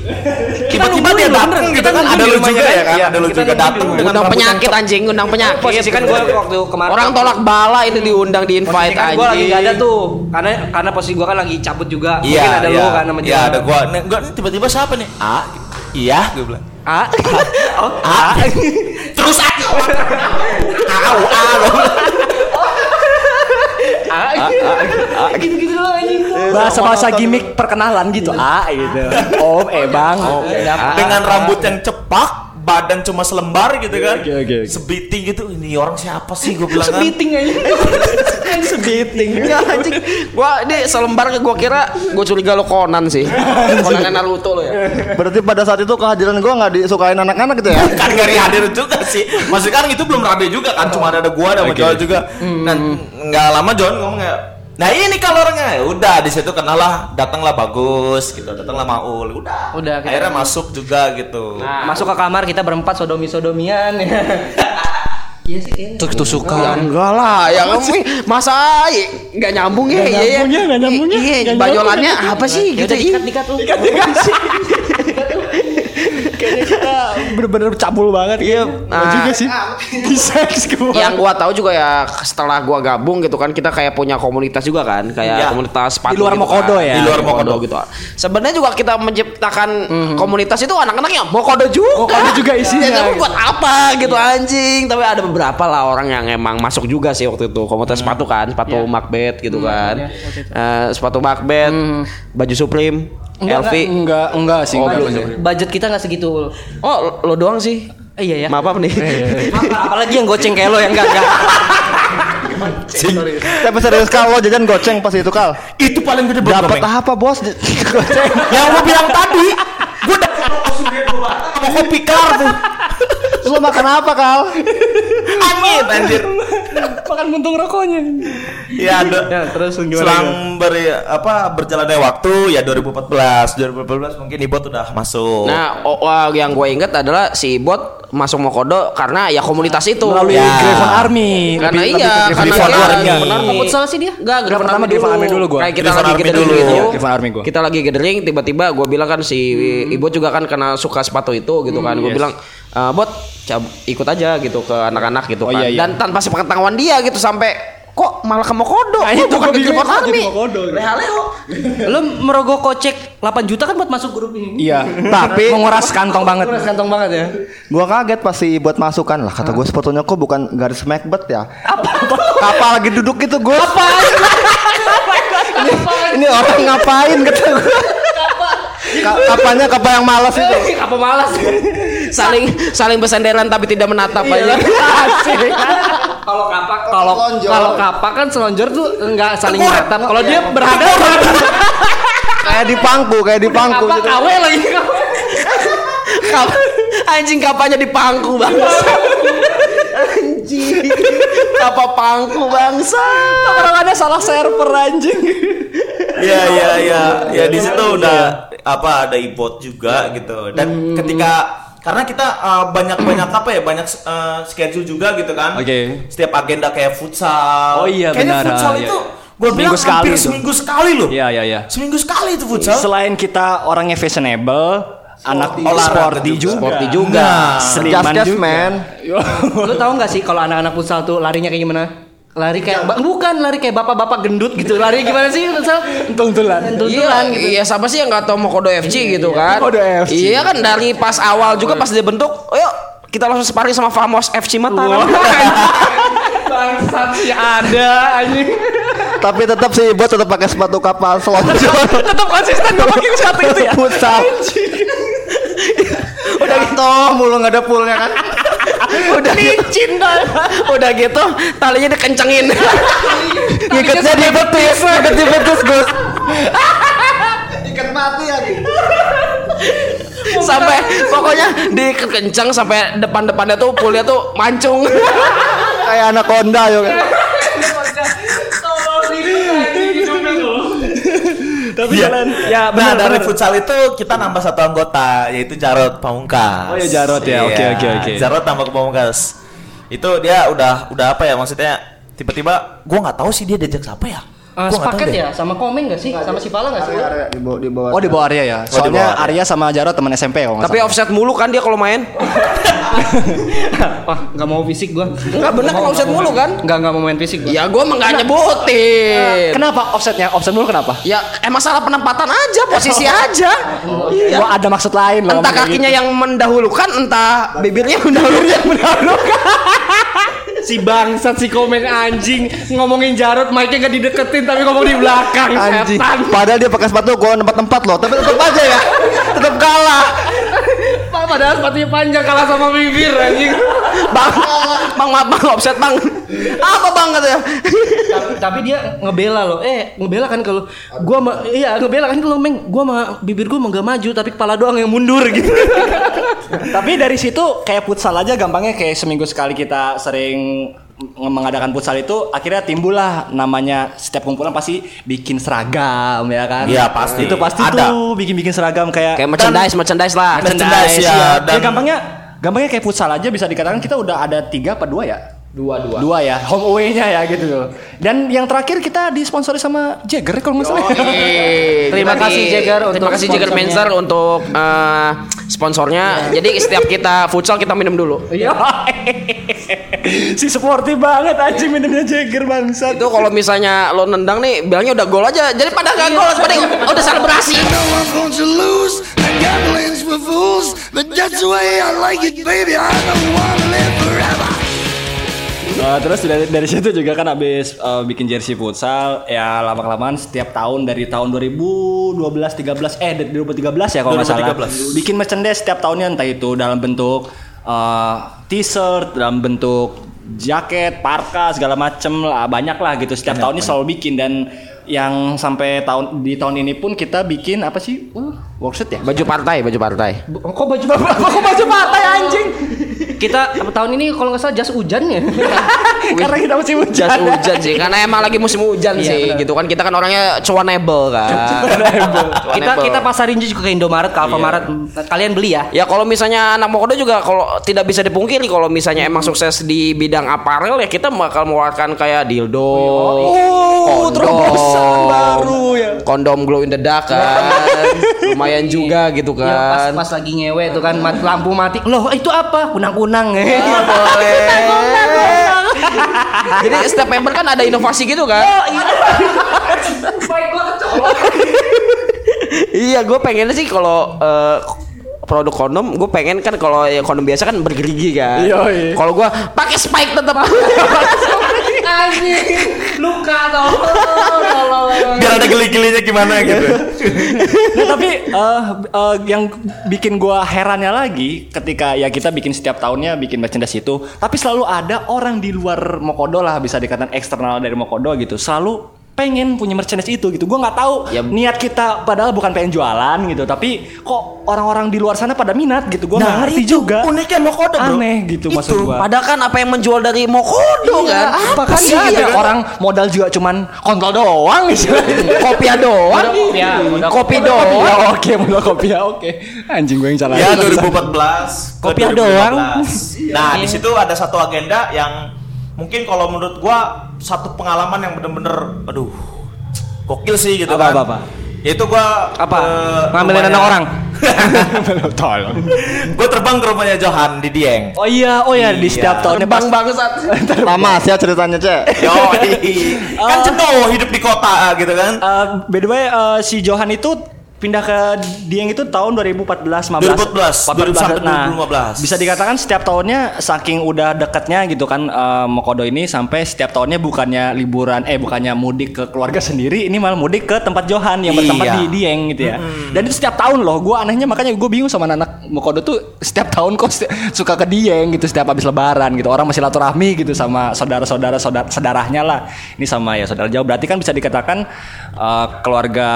S1: Tiba-tiba
S6: nungguin
S1: dia
S6: loh,
S1: datang
S6: bener.
S1: gitu
S6: Kita
S1: kan ada lu
S6: nungguin di rumahnya
S1: juga ya
S6: kan?
S1: kan,
S6: Iya,
S1: ada lu
S6: kita
S1: juga
S6: nungguin
S1: datang
S6: dulu.
S1: dengan
S3: Undang
S1: rambut yang
S3: penyakit anjing, undang penyakit.
S6: Posisi kan gue waktu kemarin kan
S3: Orang tolak bala itu diundang di
S6: Posisi
S3: invite
S6: kan
S3: aja.
S6: gue lagi gak ada tuh karena karena posisi gue kan lagi cabut juga
S1: Iya,
S6: mungkin ada
S1: iya.
S6: lo kan sama
S1: Iya,
S6: Johan.
S1: ada gua. Nah, Enggak, ini tiba-tiba siapa nih? Ah, gitu. Iya, gue bilang.
S6: A
S1: Ah. Terus
S6: (laughs)
S1: aja. Au, ah. gue bilang.
S6: Ah, gitu-gitu doang anjing.
S1: Iya,
S4: Bahasa-bahasa gimmick perkenalan gitu. Ah gitu. Om, eh Bang.
S3: Ah.
S1: Dengan rambut yang cepak, badan cuma selembar gitu kan.
S4: oke, oke, oke.
S1: Sebiting gitu. Ini orang siapa sih gue
S6: (laughs)
S1: bilang kan.
S6: Meeting aja.
S1: (laughs)
S4: Sebiting.
S3: Ya anjing. Gua ini selembar gua kira gua curiga lo Conan
S4: (laughs)
S3: sih. Conan Naruto lo ya.
S2: Berarti pada saat itu kehadiran gua nggak disukain anak-anak gitu ya?
S1: kan gak hadir juga sih maksudnya kan itu belum rame juga kan cuma ada ada gua ada sama Joel juga dan nggak lama John ngomong kayak nah ini kalau orangnya Ya udah di situ kenalah datanglah bagus gitu datanglah Maul udah
S6: Udah, Nah. kita-
S1: akhirnya masuk juga gitu
S6: Masuk ke kamar kita berempat sodomi-sodomian. Iya sih kayaknya.
S3: Ya enggak lah, ya kamu masa enggak nyambung ya, iya ya.
S4: nyambungnya, nggak nyambungnya,
S3: Iya,
S4: nggak
S3: bayolannya apa sih gitu
S6: Ya udah
S3: ih.
S6: dikat-dikat lu.
S4: Kayaknya kita bener-bener cabul banget. Iya.
S3: Nah.
S4: juga sih. Di seks gua.
S3: Yang gua tahu juga ya setelah gua gabung gitu kan kita kayak punya komunitas juga kan, kayak
S1: Ya.
S3: komunitas sepatu
S4: Iya. luar
S3: gitu
S4: Mokodo
S3: kan.
S4: ya.
S3: Di luar Mokodo gitu. Sebenarnya juga kita menciptakan komunitas itu anak-anaknya Mokodo juga.
S4: Mokodo
S3: (laughs)
S4: juga isinya,
S3: Ya, tapi
S4: gitu.
S3: buat apa gitu anjing. Tapi ada beberapa lah orang yang emang masuk juga sih waktu itu
S4: Mhm.
S3: komunitas sepatu kan, sepatu
S4: Iya.
S3: Macbeth gitu kan. Eh, sepatu Macbeth, baju Supreme, LV.
S4: Mhm. Enggak, enggak sih.
S3: Oh,
S4: enggak.
S3: belum ya.
S6: Budget kita nggak segitu. Ul.
S3: Oh, lo doang sih.
S6: Eh, Iya ya.
S3: Maaf apa nih?
S4: iya.
S3: (laughs) Oh,
S6: Apalagi yang goceng kayak lo ya? yang enggak enggak.
S2: Tapi serius kalau jajan goceng pas itu kal.
S1: itu paling gede buat
S2: Dapat
S1: gomeng.
S2: apa bos? Goceng.
S1: yang lu bilang tadi gua udah sama kopi kelar tuh
S2: Lu makan apa kal?
S1: angin anjir
S4: (laughs) Makan buntung rokoknya.
S1: ya, do-
S4: terus
S1: selang beri apa berjalannya waktu ya 2014 2014 mungkin Ibot udah
S4: Oh.
S1: masuk
S3: Nah, o- wah, yang gue inget adalah si bot masuk Mokodo karena ya komunitas itu.
S4: melalui
S3: ya.
S4: Graven Army.
S3: Karena iya,
S4: Lebih- lebih ke
S3: karena
S4: Graven
S3: dia
S4: Army.
S3: Graven Army.
S6: Takut salah sih dia.
S3: Enggak, Graven
S4: pertama
S3: Army dulu.
S4: Graven Army dulu gua.
S3: Kayak kita
S1: Graven
S3: lagi
S1: Army
S3: gathering
S1: dulu.
S3: gitu.
S1: Iya,
S4: Graven Army gua. Hmm.
S3: Kita lagi gathering tiba-tiba gue bilang kan si Ibu juga kan kena suka sepatu itu gitu kan. Gue bilang "Eh, bot cab- ikut aja gitu ke anak-anak gitu
S4: Oh,
S3: kan.
S4: iya, iya.
S3: Dan tanpa sepengetahuan dia gitu sampai kok malah ke Mokodo.
S4: Nah,
S3: Kok
S4: itu
S3: bukan
S4: gua
S3: ke Graven
S4: bingung, kok jadi
S3: Army.
S4: Mokodo?
S3: Lehaleo.
S6: Lo merogoh kocek 8 juta kan buat masuk grup ini.
S4: Iya. Tapi menguras kantong banget.
S6: Terus kantong banget ya.
S2: Gua kaget pas si buat masukan lah kata gua sepatunya kok bukan garis Macbeth ya. Apa? Apa lagi duduk gitu gua? Apa? ini, ini orang ngapain kata gua? Ka- Kapanya kapa yang malas itu.
S6: (laughs) Apa malas?
S3: saling saling bersenderan tapi tidak menatap
S4: Iya.
S3: aja. (laughs)
S6: Iya. Kalau kapak kalau
S2: Selonjor.
S6: kalau kapak kan selonjor tuh enggak saling menatap. Kalau dia berhadapan
S2: Kayak di pangku, kayak di pangku
S6: kapak
S2: gitu.
S6: KW lagi KW.
S3: Kap- anjing kapanya di pangku
S4: (laughs)
S3: bangsa. anjing. Kapa pangku bangsa.
S4: Orang ada salah server anjing. (laughs)
S1: Iya iya iya. Ya di situ
S4: Iya.
S1: udah apa ada ibot juga gitu. Dan
S4: Hmm.
S1: ketika karena kita banyak banyak apa ya banyak eh, schedule juga gitu kan.
S4: Oke.
S1: Setiap agenda kayak futsal.
S4: Oh, iya,
S1: Kayaknya
S4: benar,
S1: futsal
S4: iya.
S1: itu gue
S4: Seminggu
S1: bilang
S4: sekali
S1: hampir
S4: itu.
S1: seminggu sekali loh.
S4: Iya, iya, iya.
S1: Seminggu sekali itu futsal.
S4: Selain kita orangnya fashionable, anak
S1: Olahraga
S4: sporty
S1: juga.
S4: juga. Nah,
S3: Sporty juga.
S4: Seniman
S2: Jas-jas,
S4: juga. (laughs)
S2: man.
S6: Lu tahu nggak sih kalau anak-anak futsal tuh larinya kayak gimana? Lari kayak ba- bukan lari kayak bapak-bapak gendut gitu. Lari gimana sih futsal?
S4: Tuntulan.
S6: Tuntulan
S3: Iya, iya siapa sih yang nggak tahu Mokodo FC gitu kan?
S4: Mokodo FC.
S3: Iya kan dari pas awal juga pas dia bentuk, ayo kita langsung sparring sama Famos FC Mataram. (laughs)
S6: Bangsat sih ada anjing.
S2: Tapi tetap si buat tetap pakai sepatu kapal selonjor.
S4: Tetap konsisten gak pakai sepatu itu ya.
S2: Futsal. Udah gitu mulu nggak ada poolnya kan.
S3: udah licin dah. Udah gitu talinya (laughs) dikencengin.
S2: Ngikatnya di betis, ngikat di betis Gus.
S3: sampai pokoknya dikencang sampai depan-depannya tuh pulnya tuh (laughs) mancung.
S2: Kayak anak Honda yo kan.
S6: Eh,
S4: Tapi
S1: Iya.
S4: jalan. Ya
S1: nah
S4: benar
S1: dari
S4: benar.
S1: futsal itu kita nambah satu anggota yaitu Jarot Pamungkas.
S4: Oh, iya, Jarot ya. Oke,
S1: Iya,
S4: oke, oke.
S1: Jarot tambah ke Pamungkas. Itu dia udah udah apa ya maksudnya tiba-tiba gua nggak tahu sih dia diajak siapa ya.
S6: eh, sepaket ya sama Komeng gak sih? Sama si Pala gak sih?
S2: Area di bawah di bawah.
S4: Oh di bawah Arya ya. Soalnya Arya sama Jarot teman SMP kalau nggak
S3: Tapi
S4: salah.
S3: offset mulu kan dia kalau main.
S6: Wah, gak mau fisik gua.
S3: Enggak bener kalau offset mulu kan?
S6: Enggak, enggak mau main fisik gua.
S3: Ya gua emang nggak nyebutin.
S4: Kenapa offsetnya? Offset dulu kenapa?
S3: Ya emang salah penempatan aja, (laughs) posisi aja. iya.
S4: Gua ada maksud lain
S3: Entah
S4: loh. ngomong kayak
S3: kakinya
S4: gitu.
S3: yang mendahulukan, entah bibirnya yang mendahulukan.
S6: Si bangsat si Komeng anjing ngomongin Jarot, mic-nya gak dideketin tapi ngomong di belakang.
S2: Anjing.
S6: Setan.
S2: Padahal dia pakai sepatu gua tempat-tempat loh, tapi tetap aja ya. Tetap kalah.
S6: Pak, padahal sepatunya panjang kalah sama bibir anjing.
S3: Bang, bang maaf bang offset bang. Apa bang katanya?
S6: tapi, tapi dia ngebela loh. Eh, ngebela kan kalau gua ma- iya ngebela kan kalau Meng, gua mah bibir gua mah gak maju tapi kepala doang yang mundur gitu.
S4: Tapi dari situ kayak futsal aja gampangnya kayak seminggu sekali kita sering nge- mengadakan futsal itu akhirnya timbullah namanya setiap kumpulan pasti bikin seragam ya kan?
S1: Iya, pasti.
S4: Itu pasti
S1: Ada.
S4: tuh bikin-bikin seragam kayak
S3: Kayak merchandise, merchandise lah.
S1: merchandise ya,
S4: iya.
S1: dan-
S4: Ya, gampangnya gampangnya kayak futsal aja bisa dikatakan kita udah ada tiga apa dua ya?
S3: Dua dua.
S4: Dua ya, home away-nya ya gitu loh. Dan yang terakhir kita disponsori sama Jagger kalau nggak salah.
S6: Terima kasih, Jagger, untuk
S3: Terima kasih Jagger
S6: sponsornya.
S3: Menser untuk eh, sponsornya. Jadi setiap kita futsal kita minum dulu.
S4: Iya. (laughs) si sporty banget anjing minumnya Jagger bangsat.
S3: Itu kalau misalnya lo nendang nih, bilangnya udah gol aja. Jadi pada nggak gol, pada udah selebrasi.
S5: No one's going to lose. The gambling's for fools. But that's the way I like it, baby. I don't want to live forever.
S4: Uh, terus dari, dari situ juga kan habis uh, bikin jersey futsal ya lama kelamaan setiap tahun dari tahun 2012 13 eh dari 2013 ya kalau nggak salah
S1: 2013.
S4: bikin merchandise setiap tahunnya entah itu dalam bentuk uh, t-shirt dalam bentuk jaket parka segala macem lah banyak lah gitu setiap tahunnya selalu bikin dan yang sampai tahun di tahun ini pun kita bikin apa sih uh, workshop ya
S3: Baju partai, baju partai.
S6: Kok baju apa (laughs) kok baju pantai anjing? Kita tahun ini kalau nggak salah jas hujan ya.
S4: karena kita masih hujan
S3: Jas hujan sih, karena emang lagi musim hujan sih, gitu kan kita kan orangnya cuanable kan.
S6: kita
S3: (laughs) Cuanable.
S6: kita pasarin juga ke Indomaret, ke Alfamaret. Kalian beli ya.
S3: Ya kalau misalnya anak Mokodo juga kalau tidak bisa dipungkiri kalau misalnya emang sukses di bidang aparel ya kita bakal mengeluarkan kayak dildo. kondom,
S4: terobosan baru ya.
S3: Kondom glow in the dark (laughs) kan. Lumayan juga gitu
S6: Ya, pas,
S3: kan.
S6: pas lagi ngewe tuh kan mat- lampu mati.
S4: Oh,
S6: Loh, itu apa? Kunang-kunang.
S4: ya?
S3: (laughs) Jadi setiap member kan ada inovasi gitu kan. iya, gue pengennya sih kalau eh, produk kondom, gue pengen kan kalau yang kondom biasa kan bergerigi kan.
S4: Yoi.
S3: Kalau gue pakai spike tetap. (laughs)
S6: Anjing, luka tolong. tolong.
S1: Biar ada geli-gelinya gimana gitu.
S4: Nah, tapi eh, eh, yang bikin gua herannya lagi ketika ya kita bikin setiap tahunnya bikin merchandise itu, tapi selalu ada orang di luar Mokodo lah bisa dikatakan eksternal dari Mokodo gitu, selalu pengen punya merchandise itu gitu. Gua nggak tahu
S3: Ya.
S4: niat kita padahal bukan pengen jualan gitu, tapi kok orang-orang di luar sana pada minat gitu. Gua nggak ngerti juga.
S1: Uniknya mau kode bro.
S4: Aneh gitu maksud gua.
S3: Padahal kan apa yang menjual dari Mokodo
S4: Iya,
S3: kan?
S4: apa kan Iya,
S3: sih
S4: nggak ada
S3: ya?
S4: orang modal juga cuman kontol doang kopi doang (laughs) kopi doang ya oke modal kopi ya oke anjing gue yang salah
S1: (laughs) Ya 2014. ke
S4: Kopiah
S1: 2015.
S4: doang. Iya.
S1: Nah, di situ ada satu agenda yang mungkin kalau menurut gua satu pengalaman yang bener-bener aduh gokil sih gitu
S4: Apa,
S1: kan.
S4: apa, apa?
S1: Yaitu gua
S4: Apa?
S1: eh,
S4: Ngambilin
S1: rumahnya-
S4: anak
S1: (laughs)
S4: orang? tolong
S1: gua terbang ke rumahnya Johan di
S4: (laughs)
S1: Dieng.
S4: oh iya oh iya di
S1: Iya.
S4: setiap tahunnya
S3: Bang
S4: pas-
S3: bangsat.
S2: Lama sih ya ceritanya,
S6: (laughs)
S2: Cek.
S1: Yo, kan
S4: Oh.
S1: jenuh hidup di kota gitu kan.
S4: Eh, by the way eh, si Johan itu pindah ke Dieng itu tahun 2014
S1: 2014,
S4: 15
S1: sampai
S4: nah,
S1: 2015.
S4: bisa dikatakan setiap tahunnya saking udah dekatnya gitu kan eh, Mokodo ini sampai setiap tahunnya bukannya liburan eh bukannya mudik ke keluarga sendiri ini malah mudik ke tempat Johan yang bertempat
S1: Iya.
S4: di Dieng gitu ya dan itu setiap tahun loh gue anehnya makanya gue bingung sama anak Mokodo tuh setiap tahun kok seti- suka ke Dieng gitu setiap habis lebaran gitu orang masih laturahmi gitu sama saudara-saudara saudara saudaranya lah ini sama ya saudara jauh berarti kan bisa dikatakan eh, keluarga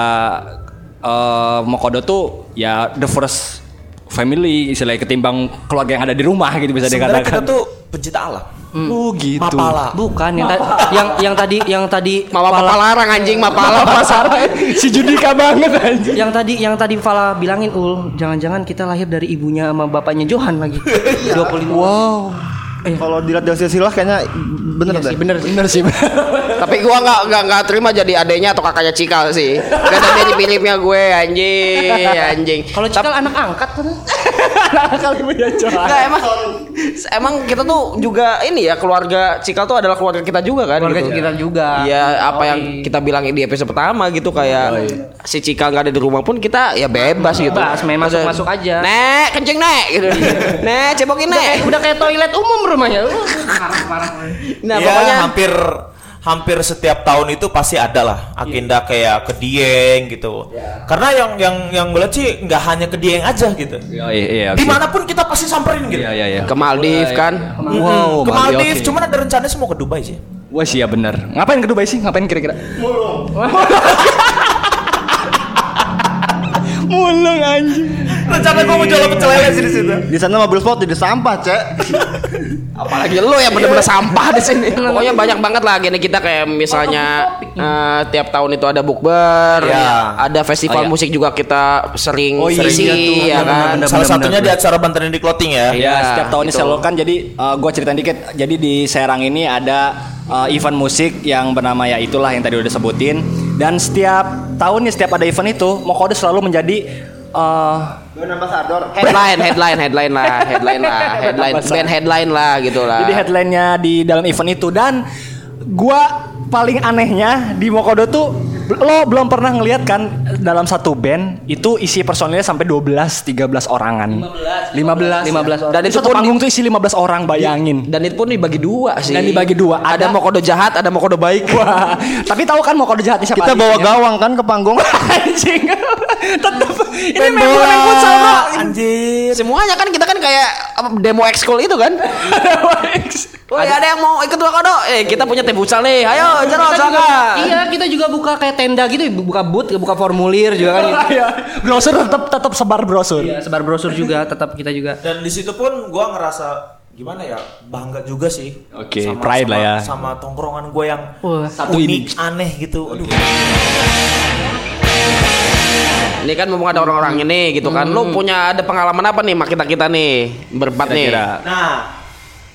S4: eh, Mokodo tuh ya the first family istilahnya ketimbang keluarga yang ada di rumah gitu bisa
S1: Sebenarnya kita
S4: dikatakan
S1: tuh pencinta alam.
S4: oh gitu
S1: Mapala.
S6: Ah, Bukan yang, ta- yang yang tadi yang tadi
S3: Mama
S6: Fala-
S3: palarang anjing, mama palarang.
S4: Pasaran si Judika banget anjing
S6: yang tadi yang tadi Fala bilangin ul jangan-jangan kita lahir dari ibunya sama bapaknya Johan lagi 25
S3: Iya.
S2: Kalau dilihat dari silsilah kayaknya
S6: Iya
S2: bener deh.
S6: sih bener
S4: bener sih
S3: Tapi gua nggak nggak nggak terima jadi adenya atau kakaknya Cikal sih. Gak ada jadi filmnya gue anjing, anjing.
S6: Kalau cikal anak angkat
S3: (laughs)
S6: kan.
S4: Kali punya cowok.
S3: Enggak emang emang kita tuh juga ini ya keluarga Cikal tuh adalah keluarga kita juga kan
S6: Keluarga
S3: gitu.
S6: kita juga.
S3: Iya, apa
S6: Yoi.
S3: yang kita bilang di episode pertama gitu kayak si Cikal nggak ada di rumah pun kita ya bebas gitu.
S6: Bebas, main
S3: Maksudnya,
S6: masuk-masuk aja.
S3: Nek, kencing Nek gitu. Nek, cebokin
S6: Udah
S3: Nek.
S6: kayak, Eh, udah kayak toilet umum rumahnya. Parah parah.
S3: Nah,
S1: ya,
S3: pokoknya
S1: hampir hampir setiap tahun itu pasti ada lah agenda kayak ke Dieng gitu. Karena yang yang yang gue lihat sih nggak hanya ke Dieng aja gitu.
S4: Iya, iya.
S1: Dimanapun kita pasti samperin gitu.
S4: Iya, iya, iya.
S3: ke Maldiv kan.
S4: Wow,
S1: ke
S4: Bali,
S1: Maldiv,
S4: oke.
S1: cuman ada rencananya semua ke Dubai sih.
S4: Wah sih ya bener Ngapain ke Dubai sih? Ngapain kira-kira? Mulung Mulung anjing
S1: Rencana gue mau
S4: Iya,
S1: jual pecel lele sih di situ.
S2: Di sana mobil sport jadi sampah, Cek.
S3: Apalagi lo yang bener-bener sampah di sini. Pokoknya banyak banget lah agenda kita kayak misalnya eh, tiap tahun itu ada bukber,
S1: Iya.
S3: ada festival
S4: Oh, iya.
S3: musik juga kita sering
S4: Oh, iya,
S3: isi
S4: iya tuh.
S3: ya kan.
S4: Bener,
S1: Salah
S4: bener,
S1: satunya
S4: bener.
S1: di acara Bantarin di Clothing ya.
S3: Iya,
S4: Ya, setiap tahun
S3: gitu.
S4: selalu kan jadi eh, gua ceritain dikit. Jadi di Serang ini ada eh, event musik yang bernama ya itulah yang tadi udah sebutin dan setiap tahunnya setiap ada event itu Mokode selalu menjadi eh,
S2: Brand ambassador.
S3: Headline, headline, headline lah, headline lah, headline, band headline lah gitu lah.
S4: jadi headline-nya di dalam event itu dan gua paling anehnya di Mokodo tuh lo belum pernah ngeliat kan dalam satu band itu isi personilnya sampai 12 13 orangan. 15 15
S6: 15 orang.
S4: Dan itu satu panggung tuh isi 15 orang bayangin.
S3: dan itu pun dibagi dua sih.
S4: Dan dibagi dua.
S3: Ada,
S4: Ada-
S3: mau kodo jahat, ada mau kodo baik.
S4: Wah, tapi tahu kan mau kode jahatnya siapa?
S2: Kita
S6: Iya.
S2: bawa
S4: Anjingnya.
S2: gawang kan ke panggung.
S4: (laughs) anjing. Tetap ini
S3: Main
S4: main bola, main
S3: bola.
S4: futsal, Bro.
S1: Anjir.
S3: Semuanya kan kita kan kayak apa, demo ekskul itu
S4: (laughs)
S3: kan. Woi, ada, yang mau ikut dua kodo? Eh, kita punya tim futsal nih. Ayo,
S6: Kita
S3: cerot
S6: juga,
S3: sana.
S6: iya kita juga buka kayak tenda gitu, buka booth, buka formulir juga kan. gitu.
S4: Iya, brosur tetap tetap sebar brosur.
S6: Iya, sebar brosur juga, tetap kita juga.
S1: dan di situ pun gue ngerasa gimana ya bangga juga sih
S4: Oke,
S1: Sama-
S4: pride
S1: sama-
S4: lah ya.
S1: sama tongkrongan gue yang
S6: Wah.
S1: satu unik
S4: ini.
S1: aneh gitu aduh
S3: Ini kan mumpung ada orang-orang ini gitu kan.
S4: Hmm.
S3: Lu punya ada pengalaman apa nih sama kita-kita nih? Berempat nih.
S4: Kira-kira.
S1: nah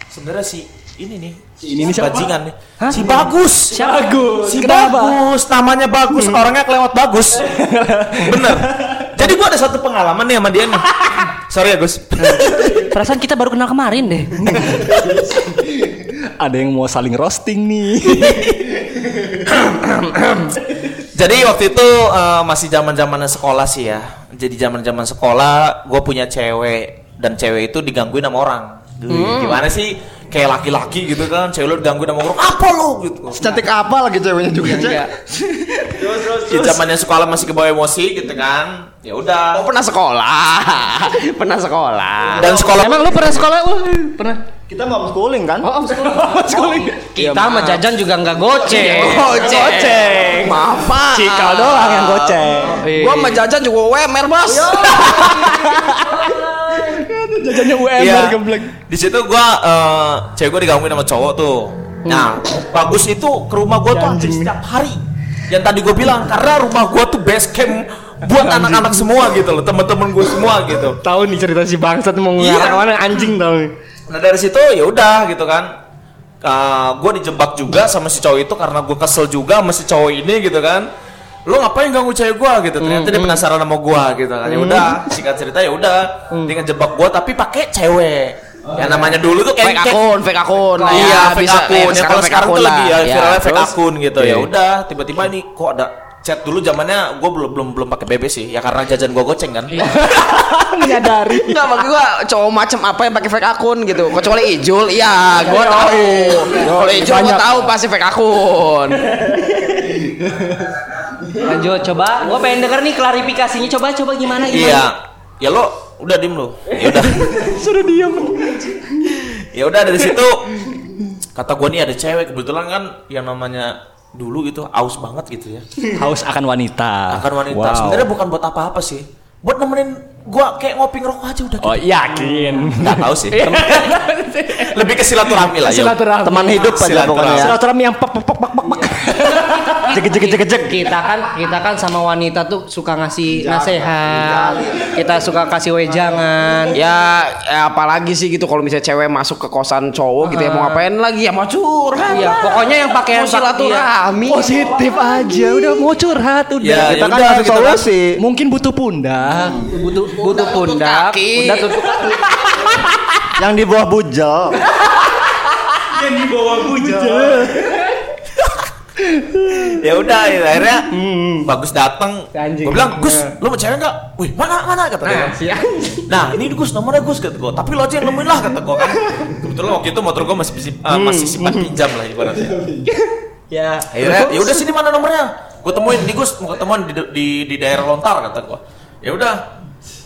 S1: sebenarnya si ini nih
S4: ini nih siapa?
S1: bajingan nih si bagus
S4: Bagus.
S1: si
S4: Kenapa?
S1: bagus namanya bagus orangnya kelewat bagus bener jadi gue ada satu pengalaman nih sama dia nih sorry ya Gus
S6: Perasaan kita baru kenal kemarin deh.
S4: Ada yang mau saling roasting nih.
S1: Jadi waktu itu eh, masih zaman zamannya sekolah sih ya. Jadi zaman zaman sekolah, gue punya cewek dan cewek itu digangguin sama orang. Duh,
S6: Hmm.
S1: Gimana sih? Kayak laki-laki gitu kan, cewek lu digangguin sama orang. Apa lu gitu?
S2: Cantik apa lagi
S6: gitu
S2: ceweknya juga, Cek.
S1: Di Ya, zamannya sekolah masih kebawa emosi gitu kan. Ya
S3: Oh,
S1: udah.
S3: pernah sekolah. (laughs) pernah sekolah.
S1: Dan sekolah
S6: Emang lu pernah sekolah? Uh, pernah.
S2: Kita mau schooling kan?
S6: Oh, sekolah.
S3: Iya,
S6: Kita
S3: maaf.
S6: sama
S3: Iya,
S6: jajan juga nggak goceng.
S3: Goceng.
S4: Goceng.
S3: Maaf, Pak.
S4: Cikal doang yang goceng. Iya.
S3: Gua sama jajan juga UMR, Bos.
S4: Jajannya UMR
S1: Iya.
S4: geblek.
S1: Di situ gua eh, cewek gua digangguin sama cowok tuh. Nah, bagus itu ke rumah gua tuh hampir setiap hari. Yang tadi gua bilang karena rumah gua tuh base camp buat anak-anak semua gitu loh, teman-teman gua semua gitu.
S6: Tahu nih cerita si bangsat mau
S2: Iya.
S1: ngarang
S6: kemana anjing tahu.
S1: Nah dari situ ya udah gitu kan. gue dijebak juga sama si cowok itu karena gue kesel juga sama si cowok ini gitu kan. Lo ngapain ganggu cewek gue gitu? Ternyata dia penasaran sama gue gitu kan. Ya udah, singkat cerita ya udah. Dia ngejebak gue tapi pakai cewek. ya namanya dulu tuh
S3: Fake
S1: kayak
S3: akun, fake akun.
S1: Nah, iya, fake
S3: bisa-
S1: akun.
S3: eh,
S1: Ya, kalau sekarang tuh lebih ya, viralnya fake
S3: Iya, terus?
S1: akun gitu.
S4: Iya.
S1: Ya udah, tiba-tiba ini kok ada chat dulu zamannya gue belum belum belum pakai BB sih ya karena jajan gue goceng kan
S4: Menyadari.
S3: Enggak, maksud gua cowok macam apa yang pakai fake akun gitu. Kecuali Ijul, iya, gua
S4: Yoi.
S3: tahu.
S4: Yoi,
S3: Kalau Ijul gua
S4: banyak.
S3: tahu pasti fake akun.
S6: Lanjut coba, gua pengen denger nih klarifikasinya coba coba gimana gimana.
S1: Iya. Ya lo udah diem lo. Ya udah. Suruh diem. ya udah dari situ kata gua nih ada cewek kebetulan kan yang namanya dulu gitu aus banget gitu ya.
S4: Haus akan wanita.
S1: Akan wanita.
S4: Ah, Wow.
S1: Sebenarnya bukan buat apa-apa sih. Buat nemenin gua kayak ngopi ngerokok aja udah
S4: Oh,
S1: gitu.
S4: yakin.
S1: Nggak tahu sih. Temen- (laughs) Lebih ke silaturahmi lah. yo.
S4: Silaturahmi.
S2: Teman hidup aja
S1: Silaturahmi.
S2: pokoknya.
S4: Silaturahmi yang pek pek pek pek pek. (laughs) Jegek, jegek, jegek, jegek.
S6: Kita kan kita kan sama wanita tuh suka ngasih
S1: Iya,
S6: nasehat. Kita suka kasih wejangan.
S3: Ya, ya apalagi sih gitu kalau misalnya cewek masuk ke kosan cowok gitu ya mau ngapain lagi ya mau curhat.
S6: Iya,
S3: lah.
S6: pokoknya yang pakai
S3: mau silaturahmi.
S4: Positif aja, udah mau curhat udah.
S1: Ya,
S2: Kita
S1: ya
S2: kan
S1: udah,
S2: ada
S1: gitu kan.
S2: solusi.
S4: Mungkin butuh pundak.
S6: butuh butuh pundak,
S3: kaki.
S6: pundak tutup
S2: Yang di bawah bujel.
S1: ya udah ya, akhirnya bagus datang
S6: Anjing. Iya.
S1: gue bilang Gus lu mau cewek nggak wih mana mana kata dia
S6: Nah, si anjing.
S1: nah ini Gus nomornya Gus kata gue tapi lo aja yang nemuin lah kata gue kan kebetulan waktu itu motor gue masih sim- eh, masih simpan
S6: Hmm.
S1: pinjam lah ibaratnya
S6: Ya.
S1: akhirnya ya
S6: (laughs)
S1: udah sini mana nomornya gue temuin di Gus mau ketemuan di, di di daerah lontar kata gue ya udah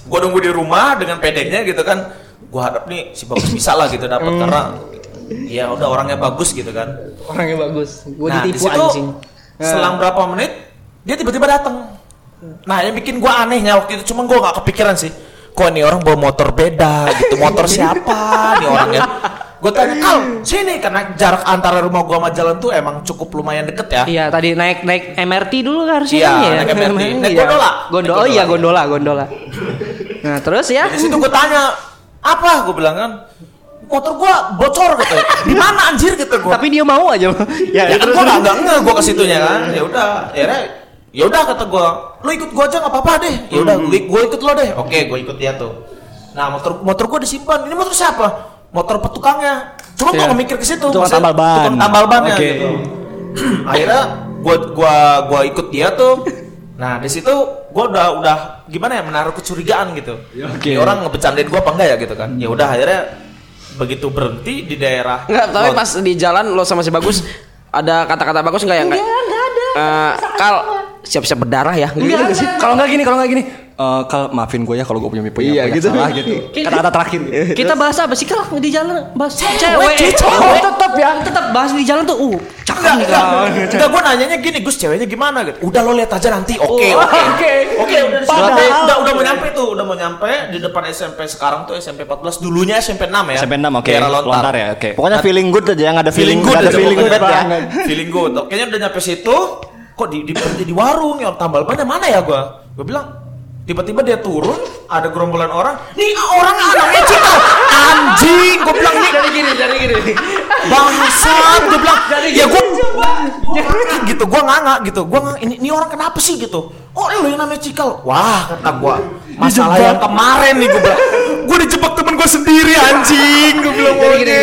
S1: gue nunggu di rumah dengan pedeknya gitu kan gue harap nih si bagus bisa lah gitu
S6: Hmm.
S1: dapat karena ya udah orangnya bagus gitu kan
S6: Orangnya bagus. Gue
S1: nah, di
S6: ditipu
S1: situ,
S6: anjing. Eh.
S1: Selang berapa menit dia tiba-tiba datang. Nah, yang bikin gua anehnya waktu itu cuman gua nggak kepikiran sih. Kok ini orang bawa motor beda gitu. Motor siapa nih orangnya? Gue tanya, "Kal, sini karena jarak antara rumah gua sama jalan tuh emang cukup lumayan deket ya."
S6: Iya tadi naik naik MRT dulu harusnya
S1: Iya,
S6: ya.
S1: naik
S6: (laughs)
S1: MRT.
S6: Iya.
S1: Naik gondola.
S6: Gondola,
S1: Naik
S6: oh iya gondola, gondola. Nah terus ya.
S1: Di situ gue tanya, "Apa?" Gue bilang kan, "Motor gua bocor," gitu. "Di mana anjir?" gitu gua.
S6: Tapi dia mau aja.
S1: ya, kan gua nggak nggak nge gua ke situnya kan ya udah akhirnya ya udah kata gua lu ikut gua aja nggak apa-apa deh ya udah gua
S4: Hmm.
S1: gua ikut lo deh oke gua ikut dia tuh nah motor motor gua disimpan ini motor siapa motor petukangnya cuma gua nggak mikir ke situ
S4: Tukang
S1: maksudnya
S4: Ya. tambal ban.
S1: tukang tambal ban ya
S4: Oke.
S1: gitu (clears throat) akhirnya gua gua gua ikut dia tuh nah di situ gua udah udah gimana ya menaruh kecurigaan gitu
S4: Ya, oke.
S1: Ini orang ngebecandain gua apa enggak ya gitu kan ya udah akhirnya begitu berhenti di daerah
S3: Enggak, tapi
S1: Lot-
S3: pas di jalan lo sama si Bagus ada kata-kata bagus nggak yang kayak? Enggak, ada. kal siap-siap berdarah ya. Gitu.
S4: Kalau nggak gini, kalau nggak gini. Eh, kalau maafin gue ya kalau gue punya punya,
S2: Iya,
S4: punya
S2: gitu.
S4: salah gitu. Kata-kata terakhir.
S6: Kita bahas apa sih kalau di jalan bahas cewek,
S1: cuy, cowok.
S6: Cewek tetap ya tetap bahas di jalan tuh uh cakep
S1: Enggak,
S6: nih,
S1: enggak.
S6: Kal.
S1: Enggak, gue nanyanya gini, Gus ceweknya gimana gitu. Udah lo lihat aja nanti. Oke,
S6: Oh,
S1: oke.
S6: oke.
S1: Oke, udah di situ.
S4: Padahal-
S1: Tapi udah udah mau nyampe tuh, udah mau nyampe di depan SMP sekarang tuh SMP 14 dulunya SMP 6 ya.
S4: SMP 6 oke.
S1: Daerah
S4: Lontar.
S1: Lontar.
S4: ya, oke.
S2: Pokoknya feeling good aja yang ada
S1: Feeling
S2: feeling,
S1: good
S2: nggak ada
S1: aja
S2: feeling
S1: pokoknya.
S2: bad ya.
S1: Feeling good. Oke, udah nyampe situ, kok di di berhenti di warung yang tambal bannya mana ya gua? Gua bilang Tiba-tiba dia turun, ada gerombolan orang. Nih orang anaknya cinta. Anjing, gua bilang nih
S6: Jadi gini jadi gini.
S1: bangsat gue bilang ya gue gitu gue nganga gitu gue nganga ini, ini orang kenapa sih gitu oh lu yang namanya cikal wah kata gue masalah yang kemarin nih gue bilang gue dijebak temen gue sendiri anjing gue bilang
S6: Jadi gini,
S1: "Oke."
S6: gini.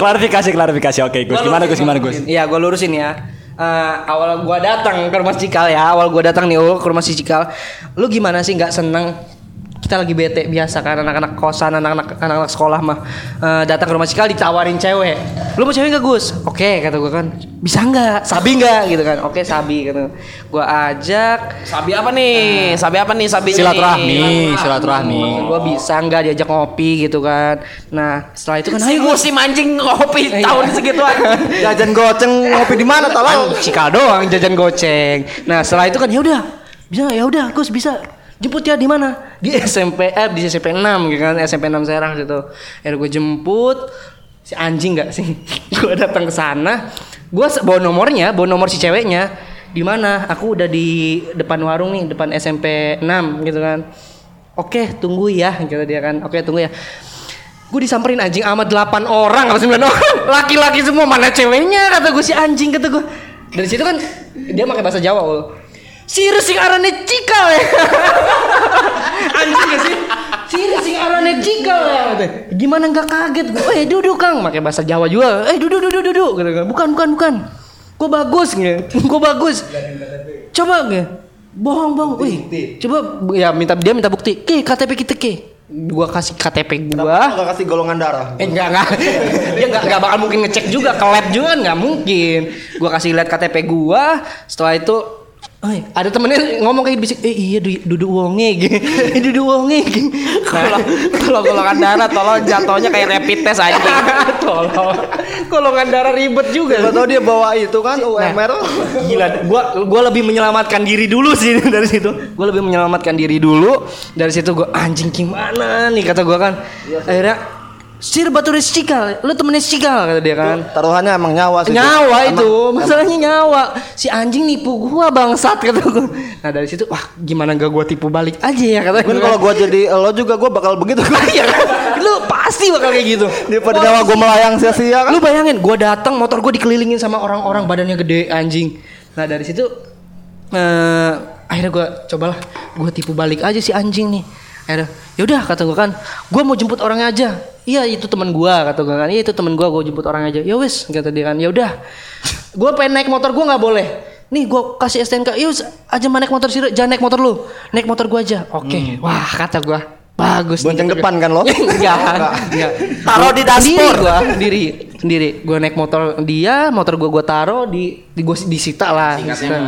S4: Klarifikasi, klarifikasi. Oke, Gus.
S6: Gua
S4: Gimana Gus?
S6: lurusin,
S4: Gimana
S6: gua
S4: Gus?
S6: lurusin. Iya, gue lurusin ya. Eh, awal gua datang ke rumah si Cikal ya. Awal gua datang nih oh, ke rumah si Cikal. Lu gimana sih nggak seneng? Kita lagi bete biasa kan anak-anak kosan, anak-anak anak-anak sekolah mah Eh, datang ke rumah Cikal ditawarin cewek. Lu mau cewek nggak Gus? Oke kata gua kan. Bisa nggak? Sabi nggak gitu kan? Oke sabi gitu. Gua ajak. Eh,
S3: Sabi apa nih? Sabi apa nih? Sabi
S4: Silaturahmi, silaturahmi.
S6: Gua bisa nggak diajak ngopi gitu kan? Nah setelah itu kan
S3: Ayo
S6: ayo Gus.
S3: musim anjing kopi
S6: Iya. Nah,
S3: tahun segitu
S6: (laughs)
S3: anjing.
S2: Jajan goceng ngopi di mana tolong?
S6: Cikal doang jajan goceng. Nah setelah itu kan ya udah bisa ya udah Gus bisa jemput ya di mana di SMP eh di SMP 6 gitu kan SMP 6 Serang situ. Akhirnya gue jemput si anjing nggak sih? (laughs) gue datang ke sana, gue se- bawa nomornya, bawa nomor si ceweknya. Di mana? Aku udah di depan warung nih, depan SMP 6 gitu kan. Oke, tunggu ya, gitu dia kan. Oke, tunggu ya. Gue disamperin anjing sama 8 orang apa 9 orang. (laughs) Laki-laki semua mana ceweknya kata gue si anjing kata gue. Dari situ kan dia pakai bahasa Jawa loh. Sirus sing arane cikal ya. (laughs) anjing gak sih? Sirus sing arane cikal ya. kata. Gimana nggak kaget gue? Eh duduk Kang, pakai bahasa Jawa juga. Eh duduk duduk duduk kata gue. Bukan bukan bukan. Gue bagus (laughs) gitu. Gue bagus. Coba gitu. Bohong bohong. Wih. Coba ya minta dia minta bukti. Ki KTP kita ki. Gua kasih KTP gua.
S2: Enggak kasih golongan darah.
S6: Eh, enggak (laughs) enggak. Dia enggak enggak bakal mungkin ngecek juga ke lab juga enggak mungkin. Gua kasih lihat KTP gua, setelah itu Oi, ada temennya ngomong kayak bisik, eh iya du- duduk wonge, (laughs) gitu. eh duduk wonge. (laughs) gitu. Nah,
S3: Kalau golongan darah tolong jatuhnya kayak rapid test anjing.
S6: tolong, golongan darah ribet juga.
S2: Gak tau dia bawa itu kan
S6: Nah.
S2: UMR.
S6: Gila, gua gua lebih menyelamatkan diri dulu sih (laughs) dari situ. Gua lebih
S2: Iya,
S6: menyelamatkan diri dulu. Dari situ gua anjing gimana nih kata gua kan. Akhirnya Sir Batu Cikal, lu temennya Cikal kata dia kan.
S2: Taruhannya emang nyawa sih.
S6: Nyawa
S2: Emang-
S6: itu, masalahnya nyawa. Si anjing nipu gua bangsat (laughs) kata gua. Nah dari situ, wah gimana gak gua tipu balik aja ya kata
S2: Mungkin kalau gua jadi lo juga gua bakal begitu.
S6: (laughs) Iya kan? Lu pasti bakal kayak gitu.
S2: Daripada
S6: Wah,
S2: nyawa gua melayang sia-sia kan.
S6: Lu bayangin, gua datang motor gua dikelilingin sama orang-orang badannya gede anjing. Nah dari situ, eh akhirnya gua cobalah, gua tipu balik aja si anjing nih. Akhirnya, yaudah kata gua kan, gua mau jemput orangnya aja. Iya itu teman gua kata gua kan, iya itu teman gua, gua jemput orang aja. Ya wes kata dia kan, yaudah. Gua pengen naik motor gua nggak boleh. Nih gua kasih STNK, yus "Ya aja mana naik motor sih, jangan naik motor lu, naik motor gua aja. Oke, wah kata gua bagus. nih,
S2: Hmm. Bonceng
S6: kata gua.
S2: depan kan lo?
S6: (laughs) Enggak, enggak.
S1: Taruh di dashboard.
S6: Sendiri gua, sendiri, sendiri. Gua naik motor dia, motor gua gua taruh di di gua disita lah. Disita.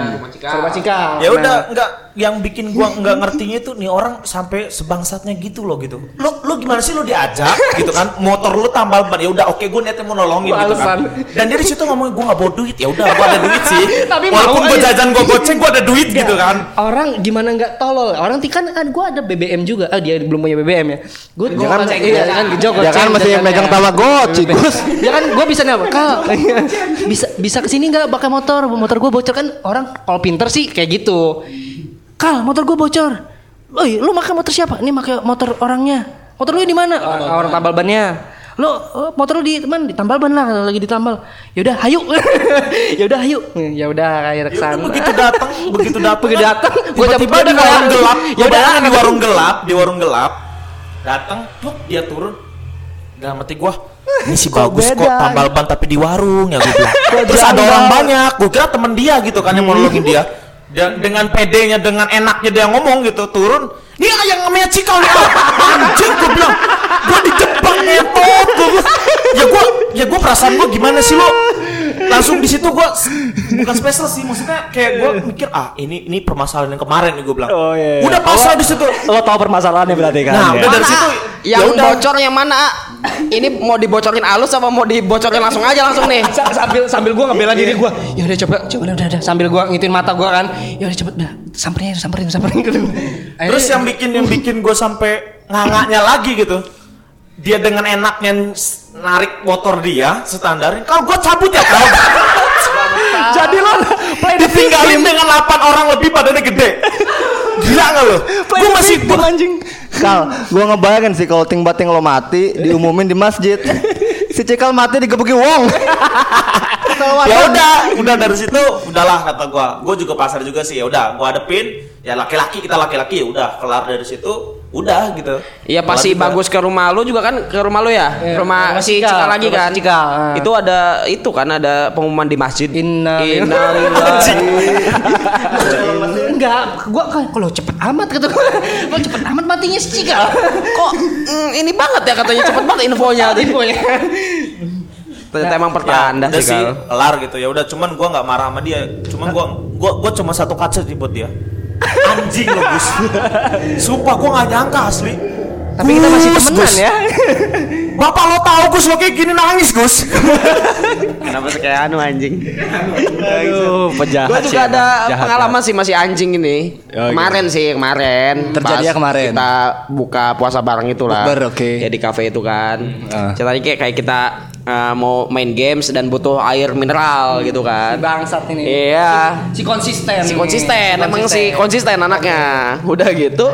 S6: Serba cikal.
S1: ya udah nggak yang bikin gua nggak ngertinya itu nih orang sampai sebangsatnya gitu loh gitu lu lu gimana sih lu diajak gitu kan motor lu tambal ban ya udah oke gua niatnya mau nolongin gitu kan dan dia di situ ngomong gua nggak bawa duit ya udah gua ada duit sih
S6: (laughs) Tapi mau
S1: walaupun gua
S6: aja.
S1: jajan gua goceng gua ada duit gitu kan
S6: Orang gimana nggak tolol? Orang ti kan kan gua ada BBM juga. Ah dia belum punya BBM ya. Gua
S2: Dia kan masih
S6: iya, kan gejok
S2: Dia kan
S6: goceng
S2: masih
S6: jajannya.
S2: megang Tamagotchi, Gus.
S6: Ya kan gua bisa nanya,
S2: (laughs)
S6: "Kak, bisa bisa ke sini nggak pakai motor? Motor gua bocor kan orang kalau pinter sih kayak gitu. Kal, motor gua bocor. Oi, lu pakai motor siapa? Ini pakai motor orangnya. Motor lu di
S2: Oh,
S6: mana? Ah, orang tambal bannya. Lu eh, motor lu di teman ditambal ban lah lagi ditambal. Yaudah, hayu. (laughs) Yaudah, hayu. Ya udah kayak reksan.
S1: begitu (laughs) datang begitu datang
S6: Begitu datang, gua
S1: tiba-tiba
S6: cabut
S1: di
S6: aja
S1: warung
S6: kayak-
S1: gelap
S6: Ya
S1: ya
S6: udah.
S1: udah di warung gelap di warung gelap datang tuh dia turun dalam hati gua ini si bagus kok
S2: beda?
S1: tambal ban tapi di warung ya gua bilang terus ada
S2: janggal.
S1: orang banyak gua kira temen dia gitu kan yang monologin dia dia dengan pedenya dengan enaknya dia ngomong gitu turun ini yang namanya cikal nih ah." (laughs) anjing gua bilang gua dijebak ngetot gua gua- ya gua ya gua perasaan gua gimana sih lo langsung di situ gua s- bukan spesial sih maksudnya kayak gua mikir ah ini ini permasalahan yang kemarin nih gua bilang
S4: Oh, iya, iya.
S1: udah pasrah di situ
S4: Lo tahu permasalahannya berarti kan?
S1: nah
S4: ya?
S1: udah dari situ
S3: yang
S1: ya udah
S3: bocor yang mana A? ini mau dibocorin alus apa mau dibocorin langsung aja langsung nih
S6: Sa- sambil sambil gua ngebela diri gua. Ya udah coba coba udah udah, udah. sambil gua ngitin mata gua kan. Ya udah cepet dah. Samperin samperin samperin gitu. Akhirnya-
S1: Terus yang bikin yang bikin gue sampai ngangaknya lagi gitu. Dia dengan enaknya s- narik motor dia standarin. Kalau gue cabut ya kau.
S4: Jadi lo play the victim.
S1: Ditinggalin dengan 8 orang lebih badannya gede. Gila nggak lo?
S4: Play
S1: Gue
S4: the
S1: masih
S4: victim,
S1: gua, Ya
S4: anjing.
S2: Kal, gua ngebayangin sih kalau ting bating lo mati
S4: (laughs)
S2: diumumin di masjid. Si Cikal mati digebuki wong. Salawatan.
S1: ya udah, udah dari situ udahlah kata gue. Gue juga pasar juga sih. Ya udah, gue adepin. Ya laki-laki kita laki-laki ya udah kelar dari situ. Udah gitu.
S3: Iya pasti
S1: Kelar juga.
S3: bagus ke rumah lu juga kan ke rumah lu ya rumah
S6: Iya, rumah
S3: si
S6: Cikal,
S3: Cika lagi
S6: rumah
S3: kan
S6: si Cikal, ah.
S3: itu ada itu kan ada pengumuman di masjid
S6: Inna-
S3: Innalillahi.
S6: enggak, gua kan kalau cepet amat kata gua. Kalau cepet amat matinya si Cikal.
S3: kok mm, ini banget ya katanya cepet banget infonya infonya ternyata emang pertanda
S1: Iya, udah
S3: Ya, sih
S1: sih
S3: Kal.
S1: kelar gitu ya udah cuman gua nggak marah sama dia cuman gua gua gua cuma satu kaca sih buat dia anjing lo Gus sumpah gua nggak nyangka asli
S6: Tapi kita masih
S1: Gus,
S6: temenan
S1: Gus.
S6: ya.
S1: bapak lo tahu Gus lo kayak gini nangis Gus
S3: kenapa sih kayak anu anjing
S4: Aduh, pejahat
S3: Gue
S4: sih
S3: juga
S4: emang.
S3: ada
S4: Jahat,
S3: pengalaman sih masih anjing ini.
S4: Oh,
S3: kemarin sih, kemarin.
S4: Terjadi
S3: Pas
S4: ya kemarin?
S3: Kita buka puasa bareng itulah.
S4: Bukber, oke.
S3: Ya di kafe itu kan.
S4: Ah.
S3: Ceritanya kayak kayak kita eh, mau main games dan butuh air mineral gitu kan.
S6: Bangsat ini.
S3: Iya.
S6: Si konsisten.
S3: Si konsisten, emang si
S6: konsisten.
S3: konsisten anaknya. Udah gitu,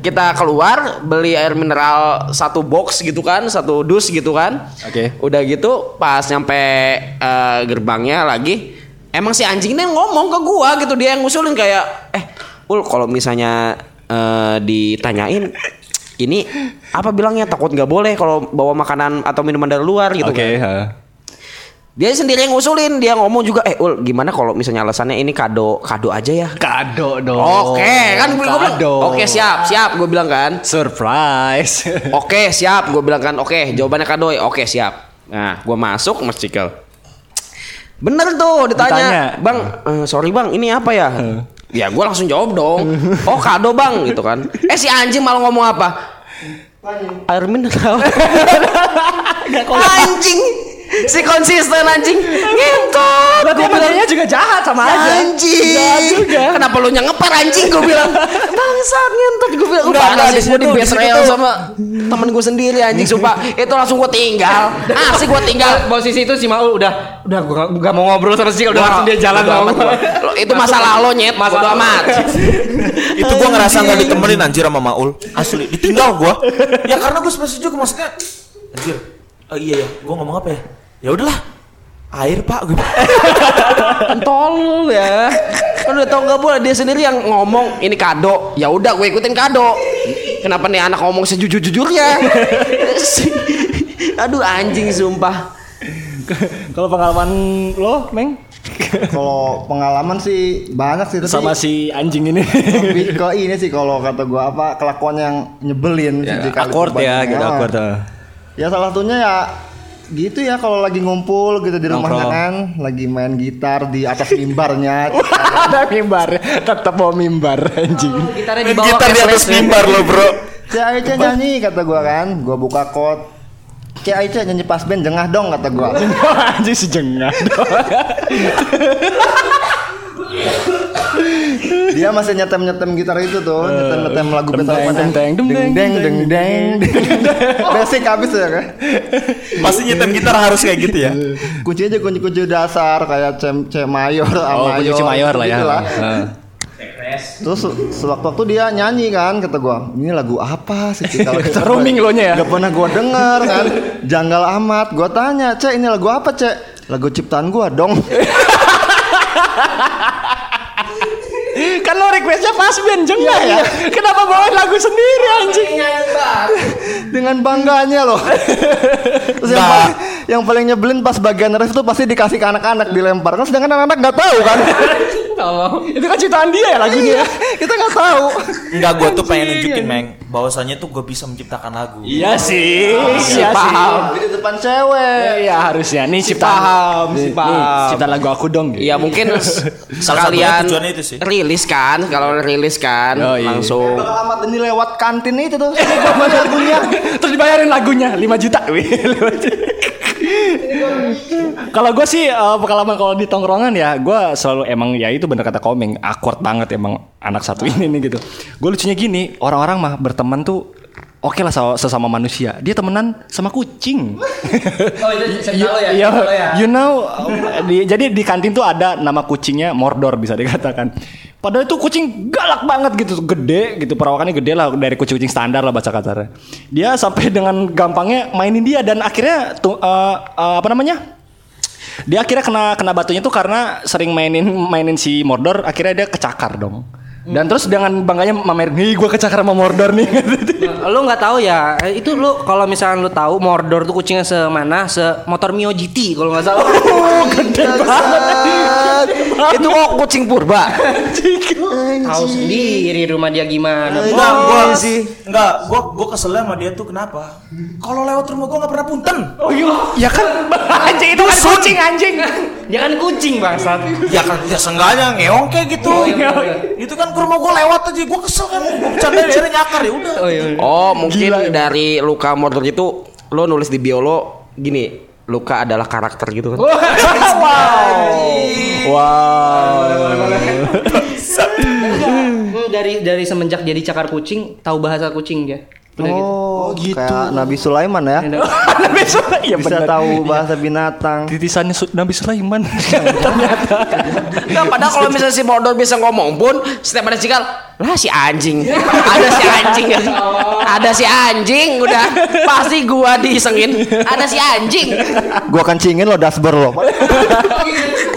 S3: kita keluar beli air mineral satu box gitu kan, satu dus gitu kan.
S4: Oke.
S3: Udah gitu pas nyampe eh, gerbangnya lagi, emang si anjing ini ngomong ke gua gitu dia yang ngusulin kayak, eh, ul kalau misalnya eh, ditanyain ini apa bilangnya takut nggak boleh kalau bawa makanan atau minuman dari luar
S4: ya.
S3: gitu
S4: Oke,
S3: kan.
S4: ha.
S3: Dia sendiri yang ngusulin, dia ngomong juga, eh ul gimana kalau misalnya alasannya ini kado kado aja ya.
S4: Kado dong.
S3: Oke, kan gue gue bilang.
S4: Kado.
S3: Oke, siap, siap gue bilang kan.
S4: Surprise.
S3: Oke, siap gue bilang kan. Oke, jawabannya kadoy. Oke, siap. Nah, gue masuk Mas Cikal. Bener tuh ditanya,
S4: Ditanya.
S3: "Bang, eh, sorry Bang, ini apa ya?" Ya gue langsung jawab dong. Oh kado bang gitu kan. Eh si anjing malah ngomong apa? Air mineral. (laughs) anjing. si konsisten anjing ngentot
S6: Lah, gua bilangnya juga jahat sama aja. Jahat
S3: anjing
S6: juga.
S3: kenapa lu nyengepar anjing gue bilang bangsat ngentot gue bilang gue
S1: Enggak,
S3: bangga
S1: enggak, di
S3: sih gue di
S1: situ, di
S3: base
S1: situ
S3: rail
S1: tuh.
S3: sama temen gue sendiri anjing sumpah itu langsung gue tinggal asik gue tinggal
S6: Posisi itu si Maul udah udah gua gak mau ngobrol terus sih udah
S3: Wah,
S6: langsung dia
S3: bodo
S6: jalan sama
S3: amat
S6: gua.
S3: gua. Lo- itu masalah lo nyet bodo amat
S1: itu gua ngerasa nggak ditemenin anjir sama Maul asli ditinggal gua ya karena gua sebenarnya juga maksudnya anjir oh, iya ya gua ngomong apa ya ya udahlah air pak (laughs) Eh, gua
S3: tolol ya kan udah tau gak boleh dia sendiri yang ngomong ini kado ya udah gue ikutin kado kenapa nih anak ngomong sejujur jujurnya (laughs) aduh anjing sumpah
S4: Kalau pengalaman lo, Meng?
S2: Kalau pengalaman sih banyak sih tapi
S4: Sama si anjing ini.
S2: lebih ke ini sih kalau kata gua apa kelakuan yang nyebelin sih jika
S4: Akord ya,
S2: diperbanyak.
S4: gitu
S2: Ah.
S4: akord.
S2: Ya salah satunya ya gitu ya kalau lagi ngumpul gitu di rumahnya
S4: Nongkrong.
S2: kan lagi main gitar di atas mimbarnya
S4: (laughs) (laughs) Ada mimbar, tetap mau mimbar anjing. (laughs)
S6: Gitarnya
S1: main
S6: dibawa
S1: gitar
S6: ke
S1: di atas
S6: flashback.
S1: mimbar lo bro
S2: Si Aice nyanyi kata gua kan gua buka kot Si Aice nyanyi pas band jengah dong kata gua
S4: anjing sejengah.
S2: Dia masih nyetem-nyetem gitar itu
S4: Eh,
S2: tuh Nyetem-nyetem lagu
S4: Deng,
S2: Beethoven
S4: deng,
S2: yang
S4: deng, deng,
S2: deng
S4: deng,
S2: deng deng deng Basic habis ya kan
S1: pasti nyetem gitar harus kayak gitu ya
S2: Kunci aja kunci-kunci dasar Kayak C, C mayor, A
S4: Oh, kunci C mayor lah ya.
S2: gitu
S4: Heeh.
S2: Terus se- sewaktu-waktu dia nyanyi kan kata gua, ini lagu apa sih
S4: (laughs)
S2: Ci?" kalau kita
S4: Roaming lo nya ya?
S2: Gak pernah gua denger kan. Janggal amat. Gua tanya, "Cek, ini lagu apa, Cek?" Lagu ciptaan gua dong.
S4: (laughs) Kan lo requestnya pas band jengah ya. Kenapa bawain lagu sendiri anjing?
S2: Dengan bangganya loh. Terus yang,
S1: Nah.
S2: paling, yang paling nyebelin pas bagian ref itu pasti dikasih ke anak-anak dilempar. Kan sedangkan anak-anak nggak tahu kan.
S4: Itu kan ciptaan dia ya lagunya.
S2: Kita nggak tahu.
S1: Enggak, gua tuh pengen nunjukin, Meng. Bahwasannya tuh gua bisa menciptakan lagu.
S4: Iya sih, iya sih.
S3: paham
S2: Di depan cewek.
S4: Iya harusnya nih ciptaan.
S3: paham, si
S4: nih,
S3: paham.
S4: nih, ciptaan lagu aku dong. gitu.
S3: ya mungkin
S1: Salah
S3: sekalian
S1: satunya tujuannya itu sih.
S3: rilis kan kalau rilis kan
S4: Oh, iya.
S3: langsung
S2: Bakal amat ini lewat kantin itu tuh. Ini gua main lagunya.
S4: Terus dibayarin lagunya 5 juta. Wih, 5 juta. kalau gue sih eh, pengalaman kalau di tongkrongan ya, gue selalu emang ya itu bener kata Komeng, akord banget emang anak satu ini nih gitu. Gue lucunya gini, orang-orang mah berteman tuh Oke lah sama- sesama manusia. Dia temenan sama kucing.
S6: Oh, itu cerita lo ya,
S4: Iya,
S6: cerita lo ya.
S4: you know, um, di- jadi di kantin tuh ada nama kucingnya Mordor bisa dikatakan. Padahal itu kucing galak banget gitu, gede gitu, perawakannya gede lah dari kucing-kucing standar lah baca katanya. Dia sampai dengan gampangnya mainin dia dan akhirnya tuh eh, eh, apa namanya? Dia akhirnya kena kena batunya tuh karena sering mainin mainin si Mordor, akhirnya dia kecakar dong. Dan terus dengan bangganya mamerin, "Hei, gua kecakar sama Mordor nih."
S6: Lu nggak tahu ya, eh, itu lu kalau misalkan lu tahu Mordor tuh kucingnya semana, semotor Mio GT kalau nggak salah.
S4: gede banget.
S3: itu kok kucing purba
S6: oh, tahu sendiri rumah dia gimana.
S1: Enggak, gua Enggak, gua gua kesel sama dia tuh kenapa? Kalau lewat rumah gua nggak pernah punten.
S4: Oh iya, ya kan anjing (laughs) itu kan kucing anjing.
S6: Dia kan kucing bangsat.
S1: Ya kan ya sengganya ngeong kayak gitu. Itu kan ke rumah gua lewat aja, gua kesel kan. Gua bercanda dia dia nyakar ya udah.
S6: iya,
S3: Oh mungkin dari luka Mordor itu lo nulis di bio lo gini luka adalah karakter gitu kan?
S6: Lu Hmm, dari dari semenjak jadi cakar kucing, tahu bahasa kucing dia. Udah gitu.
S2: Oh, gitu. Kayak Nabi Sulaiman ya.
S4: Nabi Sulaiman ya
S2: Bisa
S4: benar. Iya.
S2: tahu bahasa binatang.
S4: Titisannya Su- Nabi Sulaiman. (laughs)
S3: Nah, padahal kalau misalnya si Mordor bisa ngomong pun setiap ada cikal lah si anjing ada si anjing ada si anjing udah pasti gua disengin ada si anjing
S2: Gua kencingin lo dashboard lo.